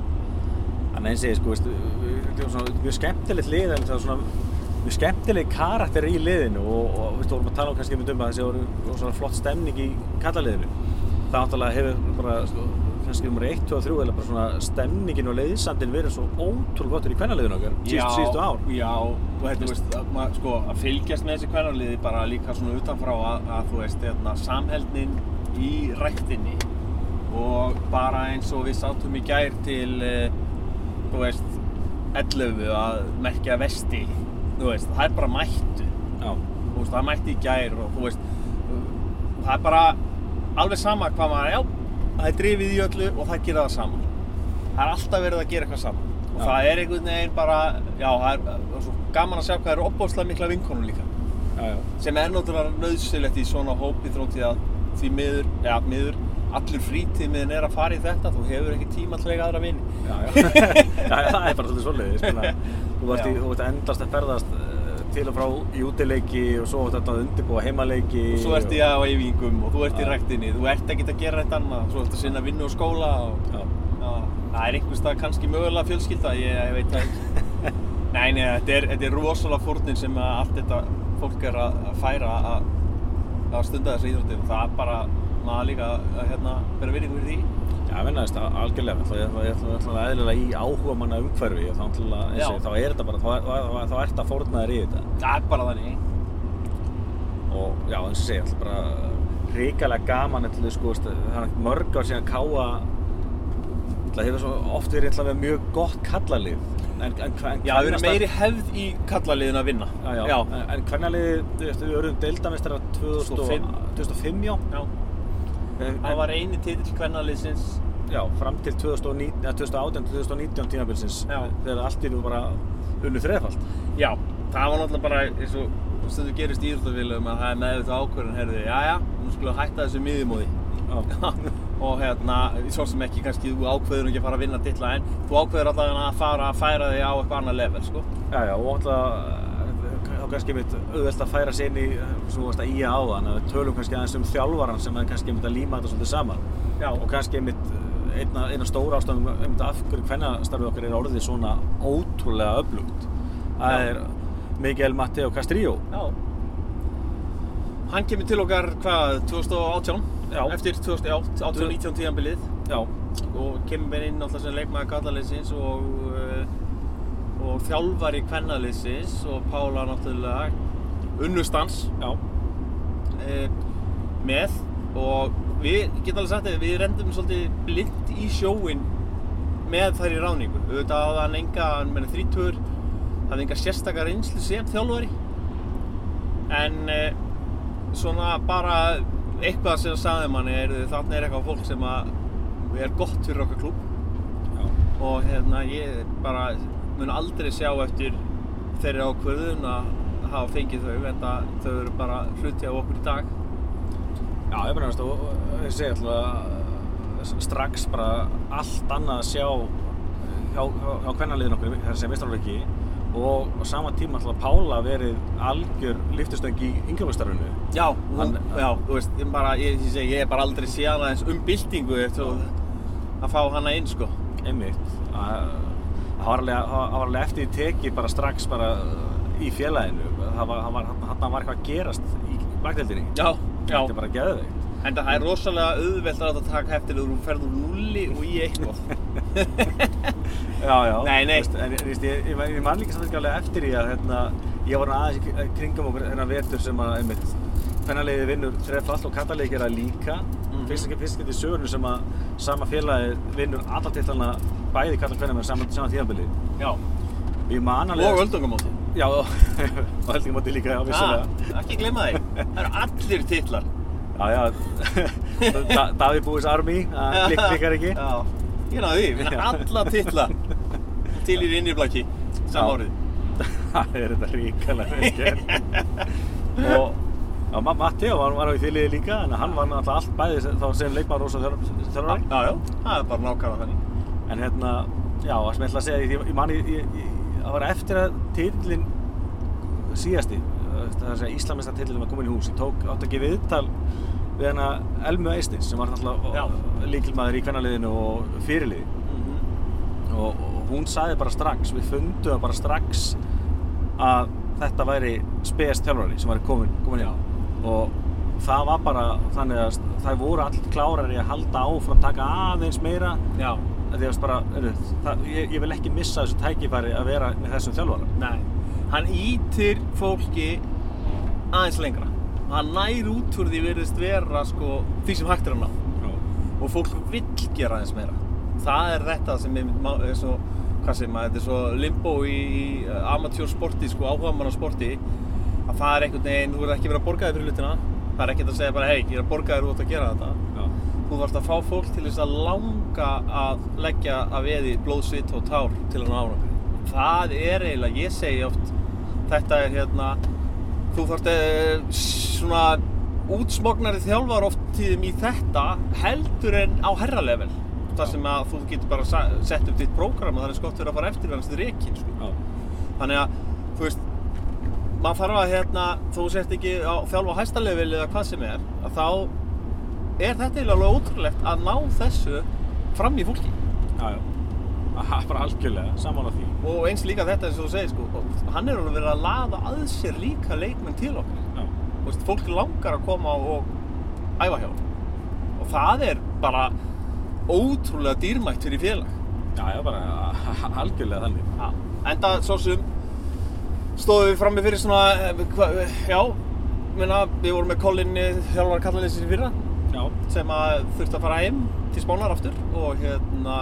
[SPEAKER 1] Þannig eins og ég, sko, veist, þetta er svona mjög skemmtilegt lið, en það er svona mjög skemmtileg karakter í liðinu og, og veist, vorum að tala um kannski einmitt um að þessi voru voru svona flott stemning í kallaliðinu. Það náttúrulega hefur bara, sko, kannski um 1, 2, 3, eða bara svona stemningin og leiðsandin verið svo ótrúlega gottur í kvennaliðinu okkar síðustu, síðustu ár.
[SPEAKER 2] Já, og þetta, þú veist, að, maður, sko, að fylgjast með þessi kvennarliði bara líka svona utanfrá að, að þú veist, hérna, samheldnin í ræktinni og bara eins og við sátum í gær til, eh, þú veist, 11 að merkja vesti, þú veist, það er bara mættu,
[SPEAKER 1] Já,
[SPEAKER 2] þú veist, það mætti í gær og þú veist, það er bara alveg sama hvað maður, já, það er drifið í öllu og það gera það saman það er alltaf verið að gera eitthvað saman og
[SPEAKER 1] Já.
[SPEAKER 2] það er einhvern veginn bara já, það er, það er svo gaman að sjá hvað það eru opbóðslega mikla vinkonum líka
[SPEAKER 1] já, já.
[SPEAKER 2] sem er náttúrulega nöðsilegt í svona hópi þrótti að því miður, já, miður allur frítímiðin er að fara í þetta þú hefur ekki tíma til að eiga aðra vini
[SPEAKER 1] Já, já. já, já, það er bara svolítið svoleiðis. bara. Þú varst í,
[SPEAKER 2] Já.
[SPEAKER 1] þú varst endast að ferðast eh, til og frá í útileiki og svo varst þetta að undirbúa heimaleiki.
[SPEAKER 2] og svo ert í aðvæfingum og þú ert í
[SPEAKER 1] Já.
[SPEAKER 2] rektinni þú ert ekki að gera þetta annað svo ert að sinna vinnu og skóla og
[SPEAKER 1] Já,
[SPEAKER 2] Já, það er einhvers stað kannski mögulega fjölskylda, ég, ég veit það ekki. Nei, nei, þetta er, þetta er rosalega fórnin sem að allt þetta fólk er að að færa að, að stunda þessu íþrótti og það er bara maður líka að hérna, vera virðing fyrir því.
[SPEAKER 1] já, vinnaðist algjörlega. Ég ætla, ég ætla, ég ætla eðlilega í áhuga manna umhverfi og þá, ætla,
[SPEAKER 2] Já.
[SPEAKER 1] eins, og þá er þetta bara, þá, þá, þá, þá ert að fórna þér í þetta.
[SPEAKER 2] Það er bara þannig.
[SPEAKER 1] Og já, eins og segja, alltaf bara ríkalega gaman ætla, við, sko, veist, það er mörg ár síðan káa Það hefur svo oft verið ætla, mjög gott kallalið en, en, en,
[SPEAKER 2] Já, það verður meiri hefð í kallaliðin að vinna.
[SPEAKER 1] Já, já.
[SPEAKER 2] já.
[SPEAKER 1] En hvernalið, þú veist, við vorum deildamestara 2005,
[SPEAKER 2] 2005.
[SPEAKER 1] 2005 já.
[SPEAKER 2] Já.
[SPEAKER 1] En,
[SPEAKER 2] Það var eini titill kvennaliðsins.
[SPEAKER 1] já, fram til 2009, eða 2018 til 2019 tímabilsins,
[SPEAKER 2] Já.
[SPEAKER 1] þegar allt í nú bara unnu þrefald.
[SPEAKER 2] Já, það var náttúrulega bara eins og stundu gerist í íþróttafélagum að það er meðvitað ákvörðin, herðu, já, já, nú skulum við hætta þessu miðjumóði.
[SPEAKER 1] Já,
[SPEAKER 2] og hérna, svo sem ekki kannski þú ákveður ekki að fara að vinna dilla en þú ákveður allavega að fara að færa þig á eitthvað annað level sko.
[SPEAKER 1] já, já, og alltaf þá kannski mitt auðvelt að færa sig inn í eh, svo varst að íja á þann, að við tölum kannski aðeins um þjálfaran sem er kannski mitt að líma þetta svolítið saman
[SPEAKER 2] Já,
[SPEAKER 1] og kannski mitt eh, einna, einna stóra ástæðum einmitt af hverju hvernastarfið okkar er orðið svona ótrúlega öflugt það
[SPEAKER 2] Já.
[SPEAKER 1] er Miguel Mateo Castrillo
[SPEAKER 2] Já. Hann kemur til okkar hvað, 2018?
[SPEAKER 1] Já.
[SPEAKER 2] Eftir 2018, 2019 tíðanbilið
[SPEAKER 1] Já,
[SPEAKER 2] og kemur mér inn alltaf sem leikmaður kallaliðsins og, eh, og þjálfari kvennaliðsins og Pála náttúrulega unnustans
[SPEAKER 1] já,
[SPEAKER 2] eh, með og við, ég get alveg sagt þið, við rendum svolítið blind í sjóin með þær í ráningu. Auðvitað hafði hann enga, hann meina þrítur, hafði enga sérstakar reynslu sem þjálfari. En eh, svona bara eitthvað sem sagði manni er þarna er eitthvað fólk sem að er gott fyrir okkar klúb
[SPEAKER 1] já,
[SPEAKER 2] og hérna ég bara mun aldrei sjá eftir þeirri ákvörðun að hafa fengið þau en það þau eru bara hluti af okkur í dag
[SPEAKER 1] já, ég meina, veist, og og ég segi alltaf strax bara allt annað að sjá hjá, hjá, hjá kvennaliðin okkur, þar sem meistarleiki og á sama tíma alltaf Pála verið algjör lyftistöng í yngjörlustarfinu.
[SPEAKER 2] Já, hún,
[SPEAKER 1] Hann-
[SPEAKER 2] já, þú veist, ég, bara, ég, ég, segi, ég er bara aldrei síðan aðeins um byltingu eftir að, að fá hana inn, sko.
[SPEAKER 1] Einmitt, að það var alveg- það var alveg eftir í teki bara strax bara í félaginu, það var, það var, hann var eitthvað að gerast í bakdeldinni.
[SPEAKER 2] Já, já,
[SPEAKER 1] Þetta er bara geðveikt.
[SPEAKER 2] Enda það er rosalega auðvelt að þetta taka eftir þegar þú ferð úr nulli og í eitthvað.
[SPEAKER 1] Já, já.
[SPEAKER 2] Nei, nei.
[SPEAKER 1] Veist, en veist, ég, ég, ég man líka samt ekki alveg eftir því að hérna, ég var aðeins í kr- í kringum okkur þennan vetur sem að, einmitt, fennarleiði vinnur þrefa all og katalegi gera líka.
[SPEAKER 2] Mhm.
[SPEAKER 1] Fyrst ekki fyrst getið sögurnu sem að sama félagi vinnur alla tillana bæði kalla hvernig með saman, saman tíðanbili.
[SPEAKER 2] Já.
[SPEAKER 1] Ég man alveg...
[SPEAKER 2] Og Ah. öldungamóti.
[SPEAKER 1] Já, og held ekki móti líka, já, vissulega.
[SPEAKER 2] ekki gleyma því. Það eru allir titlar.
[SPEAKER 1] Já, já, Da- Davíð Búis Army, það klik, klikkar ekki.
[SPEAKER 2] Já. Ég náði því, við erum alla titla. Til í innirblaki,
[SPEAKER 1] Já.
[SPEAKER 2] samárið.
[SPEAKER 1] Það er þetta ríkalega vel gert. og já, Ma- Matteo var, var á í þýliði líka, en hann var náttúrulega allt bæði sem, þá sem leikmaður og svo þjálf- þjálfari.
[SPEAKER 2] Já, já. Það er bara nákvæmlega þannig.
[SPEAKER 1] En hérna, já, það sem ég ætla að segja, ég, ég man, ég, ég, ég- það var eftir að titlinn síðasti, eh, það er að segja íslamista titlinn var komin í hús, ég tók, átt að gefa viðtal við hana Elmu Eistins, sem var
[SPEAKER 2] Já.
[SPEAKER 1] náttúrulega líkilmaður í kvennaliðinu og fyrirliði. og, og hún sagði bara strax, við fundum það bara strax að þetta væri spes tjálfari sem væri komin, komin
[SPEAKER 2] Já.
[SPEAKER 1] inn og það var bara þannig að það voru allir klárar í að halda áfram taka aðeins meira
[SPEAKER 2] Já.
[SPEAKER 1] Af því að bara, er, það, ég, ég vil ekki missa þessu tækifæri að vera með þessum þjálfara
[SPEAKER 2] Nei. Hann ítir fólki aðeins lengra. Hann nær út úr því virðist vera sko, því sem hægt er að ná. og fólk vill gera aðeins meira það er þetta sem er, má- er svo, hvað segir maður, þetta er svo limbo í, í amatjórsporti, sko áhugamannasporti að það er einhvern veginn, þú ert ekki verið að borga þér fyrir hlutina það er ekkert að segja bara, hei, ég er að borga þér út að gera þetta
[SPEAKER 1] Já.
[SPEAKER 2] þú þarfst að fá fólk til þess að langa að leggja að veði blóðsvit og tár til hann árangri það er eiginlega, ég segi oft þetta er hérna þú þarft eh, svona útsmognari þjálfar oft tíðum í þetta heldur en á herralevel þar sem að þú getur bara sa- sett upp þitt prógram og það er eins gott verið að fara eftir hans þið reikin sko.
[SPEAKER 1] Já.
[SPEAKER 2] þannig að þú veist maður þarf að hérna þú sért ekki á þjálfa á hæsta level eða hvað sem er að þá er þetta eiginlega alveg ótrúlegt að ná þessu fram í fólki
[SPEAKER 1] Já, já. Aha, bara algjörlega, sammála því
[SPEAKER 2] og eins líka þetta eins og þú segir sko hann er alveg verið að laða að sér líka leikmenn til okkar
[SPEAKER 1] Já,
[SPEAKER 2] Þú veist, fólk langar að koma og æfa hjá og það er bara ótrúlega dýrmætt fyrir félag
[SPEAKER 1] já, já bara a- algjörlega þannig
[SPEAKER 2] ja. enda svo sem stóðum við frammi fyrir svona eh, hva, já, minna, við vorum með Colin eh, þjálfara kallanleysis í fyrra
[SPEAKER 1] Já,
[SPEAKER 2] sem að þurfti að fara heim til Spánar aftur og hérna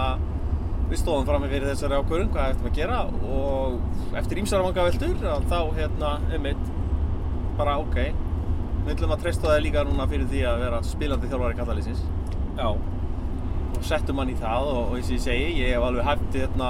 [SPEAKER 2] við stóðum frammi fyrir þessari ákvörðum hvað eftir að gera og eftir ímsar vanga veldur þá hérna einmitt bara ok við ætlum að treysta það líka núna fyrir því að vera spilandi þjálfari katalýsins
[SPEAKER 1] já,
[SPEAKER 2] og settum hann í það og, og eins og ég segi ég hef alveg hægt hérna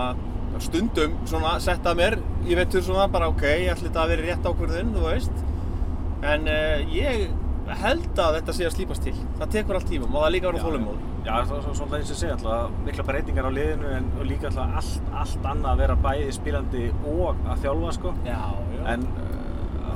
[SPEAKER 2] stundum svona setta mér ég veitur svona bara ok ég ætli þetta að vera rétt ákvörðun þú veist en uh, ég held að þetta sé að slípast til það tekur allt tímum og það er líka að vera þólumóð
[SPEAKER 1] Já, já, svo- svo- svona eins og ég segja alltaf, mikla breytingar á liðinu en og líka alltaf allt, allt annað að vera bæði spilandi og að þjálfa sko.
[SPEAKER 2] já,
[SPEAKER 1] En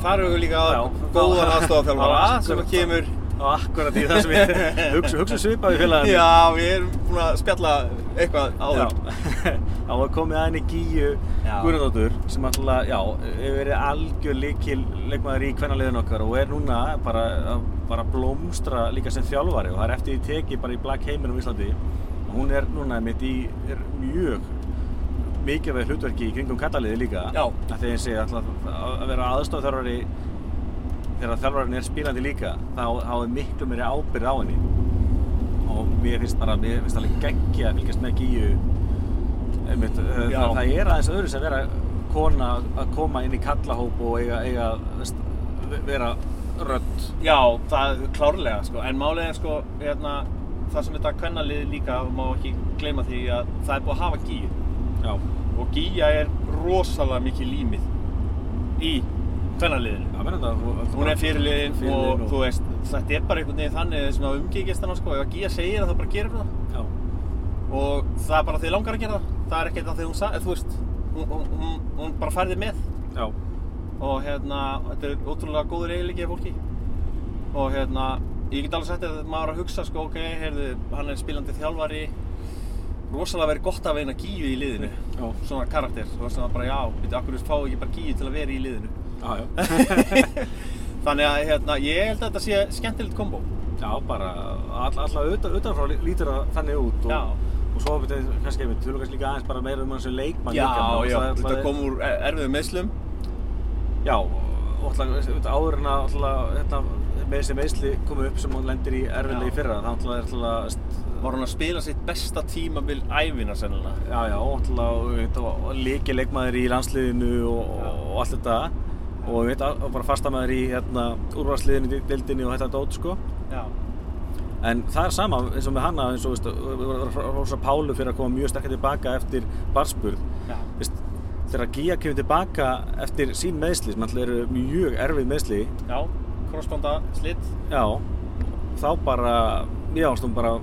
[SPEAKER 2] þar eru líka
[SPEAKER 1] Já,
[SPEAKER 2] góðan
[SPEAKER 1] þá-
[SPEAKER 2] aðstofafjálfara
[SPEAKER 1] þá-
[SPEAKER 2] sem að kemur
[SPEAKER 1] á akkurat í það sem ég hugsa, hugsa svipað í félaginu.
[SPEAKER 2] já, við erum búin að spjalla eitthvað áður
[SPEAKER 1] Það var komið aðeins í Gíu
[SPEAKER 2] Já.
[SPEAKER 1] Guðnardóttur sem alltaf, já, hefur verið algjör líkil leikmaður í kvennaliðinu okkar og er núna bara að bara blómstra líka sem þjálfari og það er eftir því tekið bara í Black Heiminum í Íslandi og hún er núna mitt í er mjög mikilvæg hlutverki í kringum kattaliði líka
[SPEAKER 2] Já.
[SPEAKER 1] að þegar ég segi alltaf að að vera aðstofþjálfari þegar þjálfarinn er spilandi líka þá, þá er miklu meiri ábyrð á henni og mér finnst bara, mér finnst alveg geggja að fylgjast með Gíu einmitt, eh,
[SPEAKER 2] Já.
[SPEAKER 1] það, það er aðeins öðru sem vera kona að koma inn í kallahóp og eiga, eiga veist, vera rödd
[SPEAKER 2] Já, það klárlega sko, en málið er sko, hérna, það sem þetta kvennalið líka, má ekki gleyma því að það er búið að hafa gíu
[SPEAKER 1] já,
[SPEAKER 2] og gíja er rosalega mikið límið í kvennaliðinu.
[SPEAKER 1] það verður þetta þú- þú-
[SPEAKER 2] Hún er fyrirliðin
[SPEAKER 1] Fyrirliðin
[SPEAKER 2] og þú veist, þetta er bara einhvern veginn þannig sem að umgengist hana sko, ef að gíja segir það þá bara gerir hún það
[SPEAKER 1] já,
[SPEAKER 2] og það er bara því langar að gera það, það er ekkert að því hún sagði, þú veist, hún, hún, hún, hún bara færði með
[SPEAKER 1] já,
[SPEAKER 2] og hérna, þetta er ótrúlega góður eiginleiki af fólki og hérna, ég get alveg sagt að maður er að hugsa sko, ok, heyrðu, hann er spilandi þjálfari rosalega verið gott að veina gíu í liðinu
[SPEAKER 1] Já.
[SPEAKER 2] svona karakter, þú veist það bara já, veitir, akkur fá ekki bara gíu til að vera í liðinu
[SPEAKER 1] já, já,
[SPEAKER 2] þannig að hérna, ég held að þetta sé skemmtilegt kombo
[SPEAKER 1] Já, bara all, alla utan, utanfrá lí- lítur það þannig út
[SPEAKER 2] Já.
[SPEAKER 1] og, og svo við þetta kannski einmitt, þú kannski líka aðeins bara meira um hans sem leikmann
[SPEAKER 2] Já,
[SPEAKER 1] líka
[SPEAKER 2] já, þetta kom úr er- erfiðum meðslum
[SPEAKER 1] Já, og alltaf auðvitað áður en að alltaf hérna meðsli meðsli komu upp sem hún lendir í erfiðlega í
[SPEAKER 2] Já.
[SPEAKER 1] fyrra þá alltaf er alltaf st-
[SPEAKER 2] Var hann að spila sitt besta tímabil ævina sennilega
[SPEAKER 1] já, já, og alltaf líki leikmaður í landsliðinu og,
[SPEAKER 2] Já.
[SPEAKER 1] og, og allt þetta og við veit að bara fastamaður í hérna úrvarsliðinu, í dildinni og þetta dót sko
[SPEAKER 2] Já
[SPEAKER 1] En það er sama eins og með hanna eins og veist, við varum að rosa Pálu fyrir að koma mjög sterkar tilbaka eftir barspurð.
[SPEAKER 2] Já,
[SPEAKER 1] Veist, þegar Gía kemur tilbaka eftir sín meðsli, sem alltaf eru mjög erfið meðsli,
[SPEAKER 2] já, crossbanda, slitt
[SPEAKER 1] já, þá bara, já, hún bara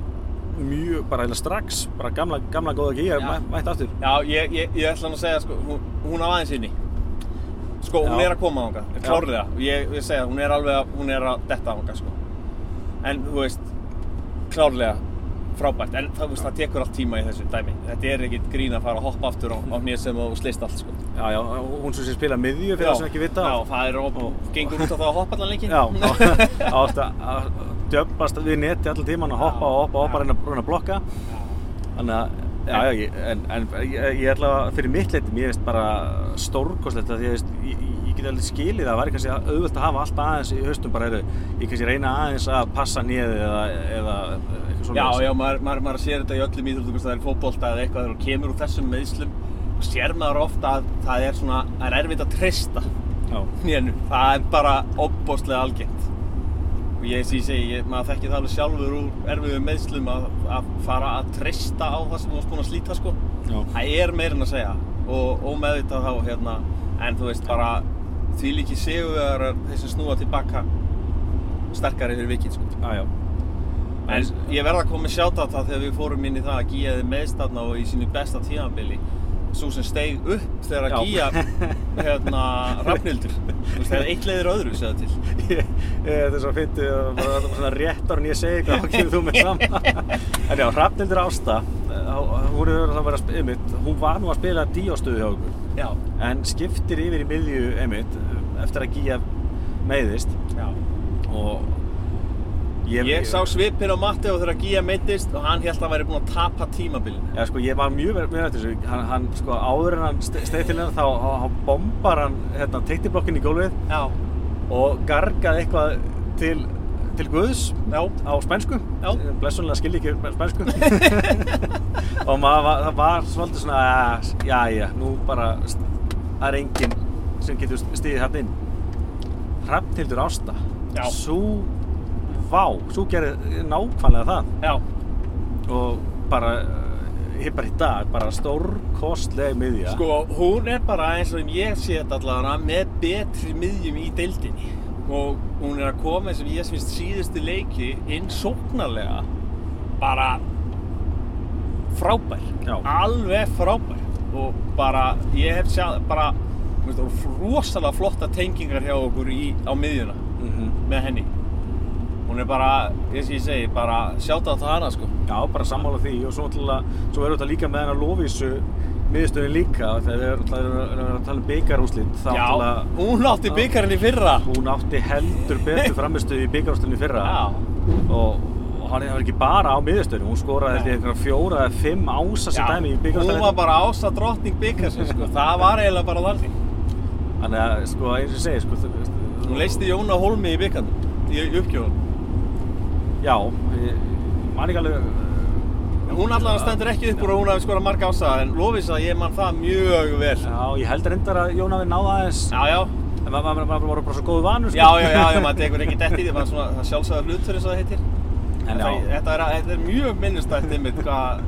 [SPEAKER 1] mjög, bara eða strax, bara gamla, gamla góða Gía,
[SPEAKER 2] Já.
[SPEAKER 1] mæ, mætt aftur.
[SPEAKER 2] Já, ég, ég, ég ætla hann að segja, sko, hún, hún á aðeins inni Sko, hún
[SPEAKER 1] Já.
[SPEAKER 2] er að koma ánga,
[SPEAKER 1] Já.
[SPEAKER 2] klárlega Og ég, ég segja, hún er alveg að, hún er að detta ánga, sko En, þú veist, klárlega frábært En það, þú veist, það tekur allt tíma í þessu dæmi Þetta er ekkit grín að fara að hoppa aftur á, á hnið sem þú slist allt, sko
[SPEAKER 1] Já, já, hún sem sé spila miðju fyrir það sem ekki vita.
[SPEAKER 2] Já, það er, og,
[SPEAKER 1] Og-
[SPEAKER 2] gengur út á það að hoppa allan leikin
[SPEAKER 1] Já, á- átt að að djöbbast við neti allan tíman að hoppa og hoppa og hoppa
[SPEAKER 2] Já.
[SPEAKER 1] reyna, reyna að blokka þannig að já, já, ég, en, en ég, ég ætla að fyrir mitt leitum ég veist bara stórkoslegt að því að veist, ég, ég get alveg skilið að það væri kannski auðvöld að hafa allt aðeins í haustum bara eru ég kannski reyna aðeins að passa nýðið eða, eða eitthvað svona
[SPEAKER 2] Já, já, maður, maður, maður sér þetta í öllum íþróttum, hvort það er fótbolta eða eitthvað, þegar þú kemur úr þessum meðslum, þá sér maður ofta að það er svona, það er erfitt að treysta
[SPEAKER 1] já.
[SPEAKER 2] hnénu, það er bara opbóstlega algengt. Og ég sé, ég segi, ég, maður þekki það alveg sjálfur úr erfiðum meðslum að, að fara að treysta á það sem þú varst búin að slíta, sko.
[SPEAKER 1] Já.
[SPEAKER 2] Það er meira en að segja og ómeðvitað þá, hérna, en þú veist, bara því líki séu þeir sem snúa tilbaka sterkari fyrir vikið, sko.
[SPEAKER 1] já, já.
[SPEAKER 2] En ég verða að koma með sjáta það þegar við fórum inn í það að Gía þið meðstanna og í sínu besta tíðanbili svo sem steig upp þegar að
[SPEAKER 1] Já.
[SPEAKER 2] Gía hérna rafnildur þegar eitt leiðir öðru segja til
[SPEAKER 1] Ég- Þetta er svo fyndið að bara þetta var svona rétt ára en ég segi eitthvað þá kemur þú með saman En já, Hrafnildur Ásta eh, hún er það bara einmitt hún var nú að spila díóstöðu hjá okkur
[SPEAKER 2] Já,
[SPEAKER 1] en skiptir yfir í miðju einmitt eh, eftir að Gía meiðist
[SPEAKER 2] já
[SPEAKER 1] og
[SPEAKER 2] Ég, sá svipin á Matti og þegar að Gía meittist og hann held að hann væri búinn að tapa tímabilinu
[SPEAKER 1] Já, sko, ég var mjög verið með eftir þessu hann, hann, sko, áður en hann steið til hennar þá þá- þá bombar hann hérna, teittiblokkinn í gólfið
[SPEAKER 2] Já,
[SPEAKER 1] og gargaði eitthvað til, til Guðs
[SPEAKER 2] já,
[SPEAKER 1] á spænsku
[SPEAKER 2] Já.
[SPEAKER 1] blessunlega skilji ekki spænsku og maður, var- það var svolítið svona "Ah, já, já, nú bara st- það er enginn sem getur st- stigið hérna inn Hrafnhildur Ásta
[SPEAKER 2] Já.
[SPEAKER 1] svo vá, svo gerði nákvæmlega það
[SPEAKER 2] já
[SPEAKER 1] og bara eh, ég bara í dag, bara stórkostlega miðja
[SPEAKER 2] Sko, hún er bara eins og ég sé þetta allavega með betri miðjum í deildinni og hún er að koma eins og ég finnst síðustu leiki inn sóknarlega bara frábær
[SPEAKER 1] Já.
[SPEAKER 2] alveg frábær og bara, ég hef sjá bara, þú veist, það voru rosalega flotta tengingar hjá okkur í, á miðjuna
[SPEAKER 1] Mhm.
[SPEAKER 2] með henni hún er bara, eins og ég segi, bara sjáta það hana sko
[SPEAKER 1] Já, bara sammála því og svo, náttúrulega- svo erum við þetta líka með hennar lofísu miðurstöðin líka þegar við erum náttúrulega- erum- erum að tala um byggarúslit þá
[SPEAKER 2] Já,
[SPEAKER 1] náttúrulega
[SPEAKER 2] hún átti byggarinn í fyrra
[SPEAKER 1] hún átti heldur betur framistuð í byggarúslinni fyrra
[SPEAKER 2] Já,
[SPEAKER 1] og, og hann er ekki bara á miðurstöðin hún skoraði held ég einhverja fjóra eða fimm ása sem
[SPEAKER 2] Já,
[SPEAKER 1] dæmi í
[SPEAKER 2] Hún var
[SPEAKER 1] byggarúslinni
[SPEAKER 2] bara ása drottning byggarsins, sko. Það var eiginlega bara þannig.
[SPEAKER 1] þannig að sko eins og ég segi sko, þú veist,
[SPEAKER 2] Hún leisti Jóna Holmi í byggarnum, í uppgjóðum.
[SPEAKER 1] já ég, man ekki alveg uh,
[SPEAKER 2] Hún allavega stendur ekki upp úr að hún hafi skorað marga ása, en lofis að ég man það mjög vel.
[SPEAKER 1] já ég held reyndar að Jón hafi náða aðeins
[SPEAKER 2] Já, já,
[SPEAKER 1] en maður ma ma ma ma voru bara svo góðu vanur sko.
[SPEAKER 2] já, já, já, já maður tekur ekki dett í því, maður svona, það sjálfsögðar hlutur eins og það heitir.
[SPEAKER 1] En
[SPEAKER 2] Þetta,
[SPEAKER 1] já.
[SPEAKER 2] þetta, er, þetta er mjög minnistætt einmitt hvað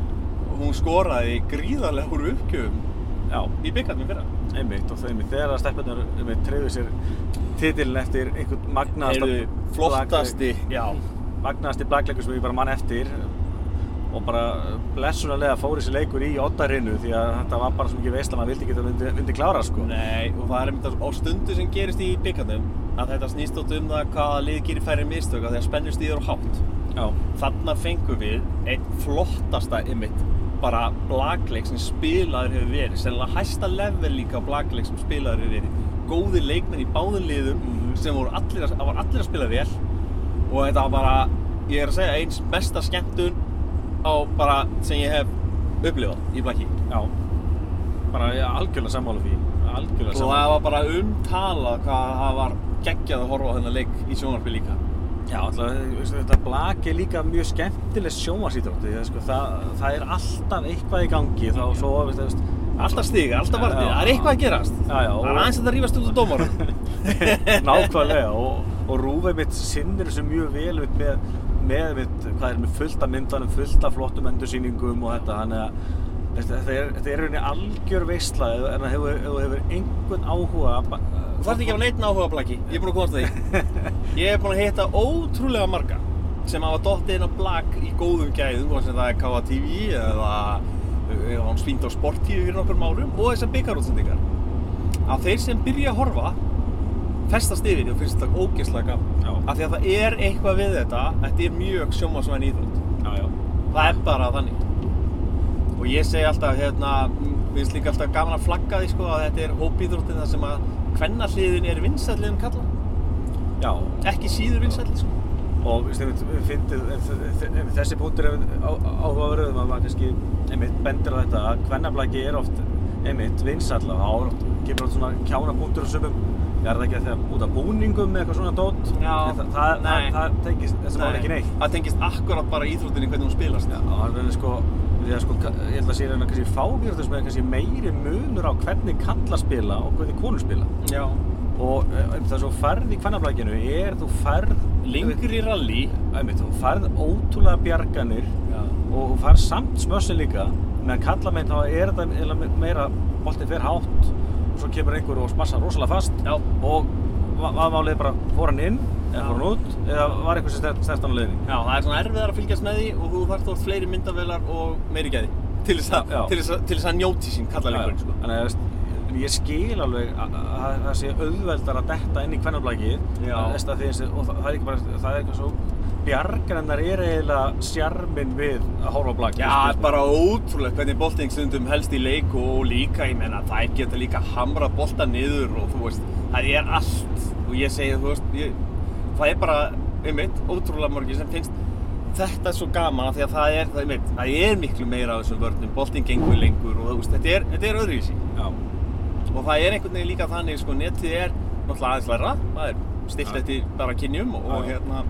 [SPEAKER 2] hún skoraði gríðarlega úr uppgjöfum
[SPEAKER 1] já
[SPEAKER 2] í byggarnum fyrra.
[SPEAKER 1] einmitt og það einmitt þegar að steppunar einmitt treyðu sér titilin eftir einhvern magnaðasta
[SPEAKER 2] Heyrðu, flottasti,
[SPEAKER 1] blakleik-
[SPEAKER 2] já,
[SPEAKER 1] magnaðasti blagleikur sem ég bara mann eftir og bara blessunarlega fór þessi leikur í oddarinu því að þetta var bara svo mikið veist að maður vildi ekki að myndi, myndi klára sko
[SPEAKER 2] Nei, og það er einmitt á stundu sem gerist í byggandum að þetta snýst átt um það hvaða lið gerir færri mistök að því að spennust í þér og hátt.
[SPEAKER 1] já,
[SPEAKER 2] Þarna fengum við einn flottasta einmitt bara blagleik sem spilaður hefur verið, sennilega hæsta level líka á blagleik sem spilaður hefur verið. Góði leikmenn í báðum liðum
[SPEAKER 1] Mhm.
[SPEAKER 2] sem voru allir, að, það voru allir að spila vel og þetta var bara, ég er að segja eins mesta skemmtun á bara sem ég hef upplifað í Blackie
[SPEAKER 1] Já, bara ég er algjörlega sammála því Algjörlega
[SPEAKER 2] og
[SPEAKER 1] sammála
[SPEAKER 2] það var bara umtalað hvað það var geggjað að horfa á þennan leik í sjónvarpi líka
[SPEAKER 1] Já, alltaf, veistu, þetta blak er líka mjög skemmtileg sjómasítrótt sko, það, það er alltaf eitthvað í gangi þá svo, veistu, veistu
[SPEAKER 2] alltaf stiga, alltaf vartið,
[SPEAKER 1] Já.
[SPEAKER 2] það er eitthvað að gerast
[SPEAKER 1] Já, já,
[SPEAKER 2] það er
[SPEAKER 1] og-
[SPEAKER 2] aðeins að það rífast út á dómarum
[SPEAKER 1] Nákvæmlega og, og rúfið mitt sinnir þessu mjög vel mitt með, með mitt, hvað er með fullt af myndanum, fullt af flottum endursýningum og þetta, þannig að veist, þetta er, þetta er rauninni algjör veistla en það hefur, ef þú hefur einhvern áhuga ba-
[SPEAKER 2] Þú þarft ekki að hafa neitt áhuga blaki, ég er búin að komast að því Ég er búin að hitta ótrúlega marga sem hafa dottið inn á blak í góðum gæðum hvort sem það er KATV eða eða hún svínd á sportífi fyrir nokkrum árum og þessar byggarútsendingar að þeir sem byrja að horfa festast yfir því og finnst þetta ógeðslega gaman
[SPEAKER 1] Já.
[SPEAKER 2] af því að það er eitthvað við þetta þetta er mjög sjómasvæn íþrótt
[SPEAKER 1] Já, já,
[SPEAKER 2] það er bara þannig og ég segi alltaf hérna mér finnst líka alltaf gaman að flagga því sko að þetta er hópíþróttin þar sem að kvennahliðin er vinsællin kalla
[SPEAKER 1] já
[SPEAKER 2] ekki síður vinsæll sko.
[SPEAKER 1] og veistu, einmitt, fyndið, en þ- þ- einmitt þessi punktur er áhugaverðum að maður kannski einmitt bendir á þetta að hvernablæki er oft einmitt vinsall og ára kemur oft svona kjána punktur á sumum ég er það ekki að þegar út af búningum með eitthvað svona dót
[SPEAKER 2] Já,
[SPEAKER 1] en það, það, það,
[SPEAKER 2] nei.
[SPEAKER 1] það tengist þessi mál ekki neitt
[SPEAKER 2] það tengist akkurat bara íþróttinni hvernig hún spilast
[SPEAKER 1] Já, og hann verður sko, því að sko ka- ég held að sé reyna kannski fábjörður sem er kannski meiri munur á hvernig kalla spila og hvernig konur spila
[SPEAKER 2] Já.
[SPEAKER 1] og eh, einmitt, það er svo færð í hvernablækinu er þú færð
[SPEAKER 2] lengri rally
[SPEAKER 1] einmitt, þú færð ótrúlega bjarganir
[SPEAKER 2] Já.
[SPEAKER 1] og þú fær samt smössin líka með kallamenn þá er þetta eiginlega meira boltið fer hátt og svo kemur einhver og spassar rosalega fast
[SPEAKER 2] Já.
[SPEAKER 1] og vaðmálið bara fór hann inn eða
[SPEAKER 2] Já.
[SPEAKER 1] fór hann út eða var eitthvað sem stert hann á leiðinni
[SPEAKER 2] Já, það er svona erfiðar að fylgjast með því og þú þarf þótt fleiri myndavelar og meiri gæði til þess að,
[SPEAKER 1] Já, já.
[SPEAKER 2] til þess að, til þess að njóti sín kalla leikurinn sko.
[SPEAKER 1] Þannig að veist, en ég skil alveg að að- að það sé auðveldar að detta inn í kvennablækið
[SPEAKER 2] Já.
[SPEAKER 1] og það er ekki bara, það er eitthvað svo bjargarinnar er eiginlega sjarminn við að horfa á sko. blækið
[SPEAKER 2] Já, bara ótrúlegt hvernig boltinn stundum helst í leik og líka, ég meina, þær geta líka hamra bolta niður og þú veist, það er allt og ég segi, þú veist, ég, það er bara, einmitt, ótrúlega mörgir sem finnst þetta svo gaman af því að það er, það, einmitt, það er miklu meira af þessum vörnum, boltinn gengur lengur og þú veist, þetta er, þetta er öðruvísi
[SPEAKER 1] Já.
[SPEAKER 2] og það er einhvern veginn líka þannig, sko, netið er náttúrulega aðeins læra, það er stilt
[SPEAKER 1] Já.
[SPEAKER 2] eftir bara kynjum og, og
[SPEAKER 1] Já.
[SPEAKER 2] hérna,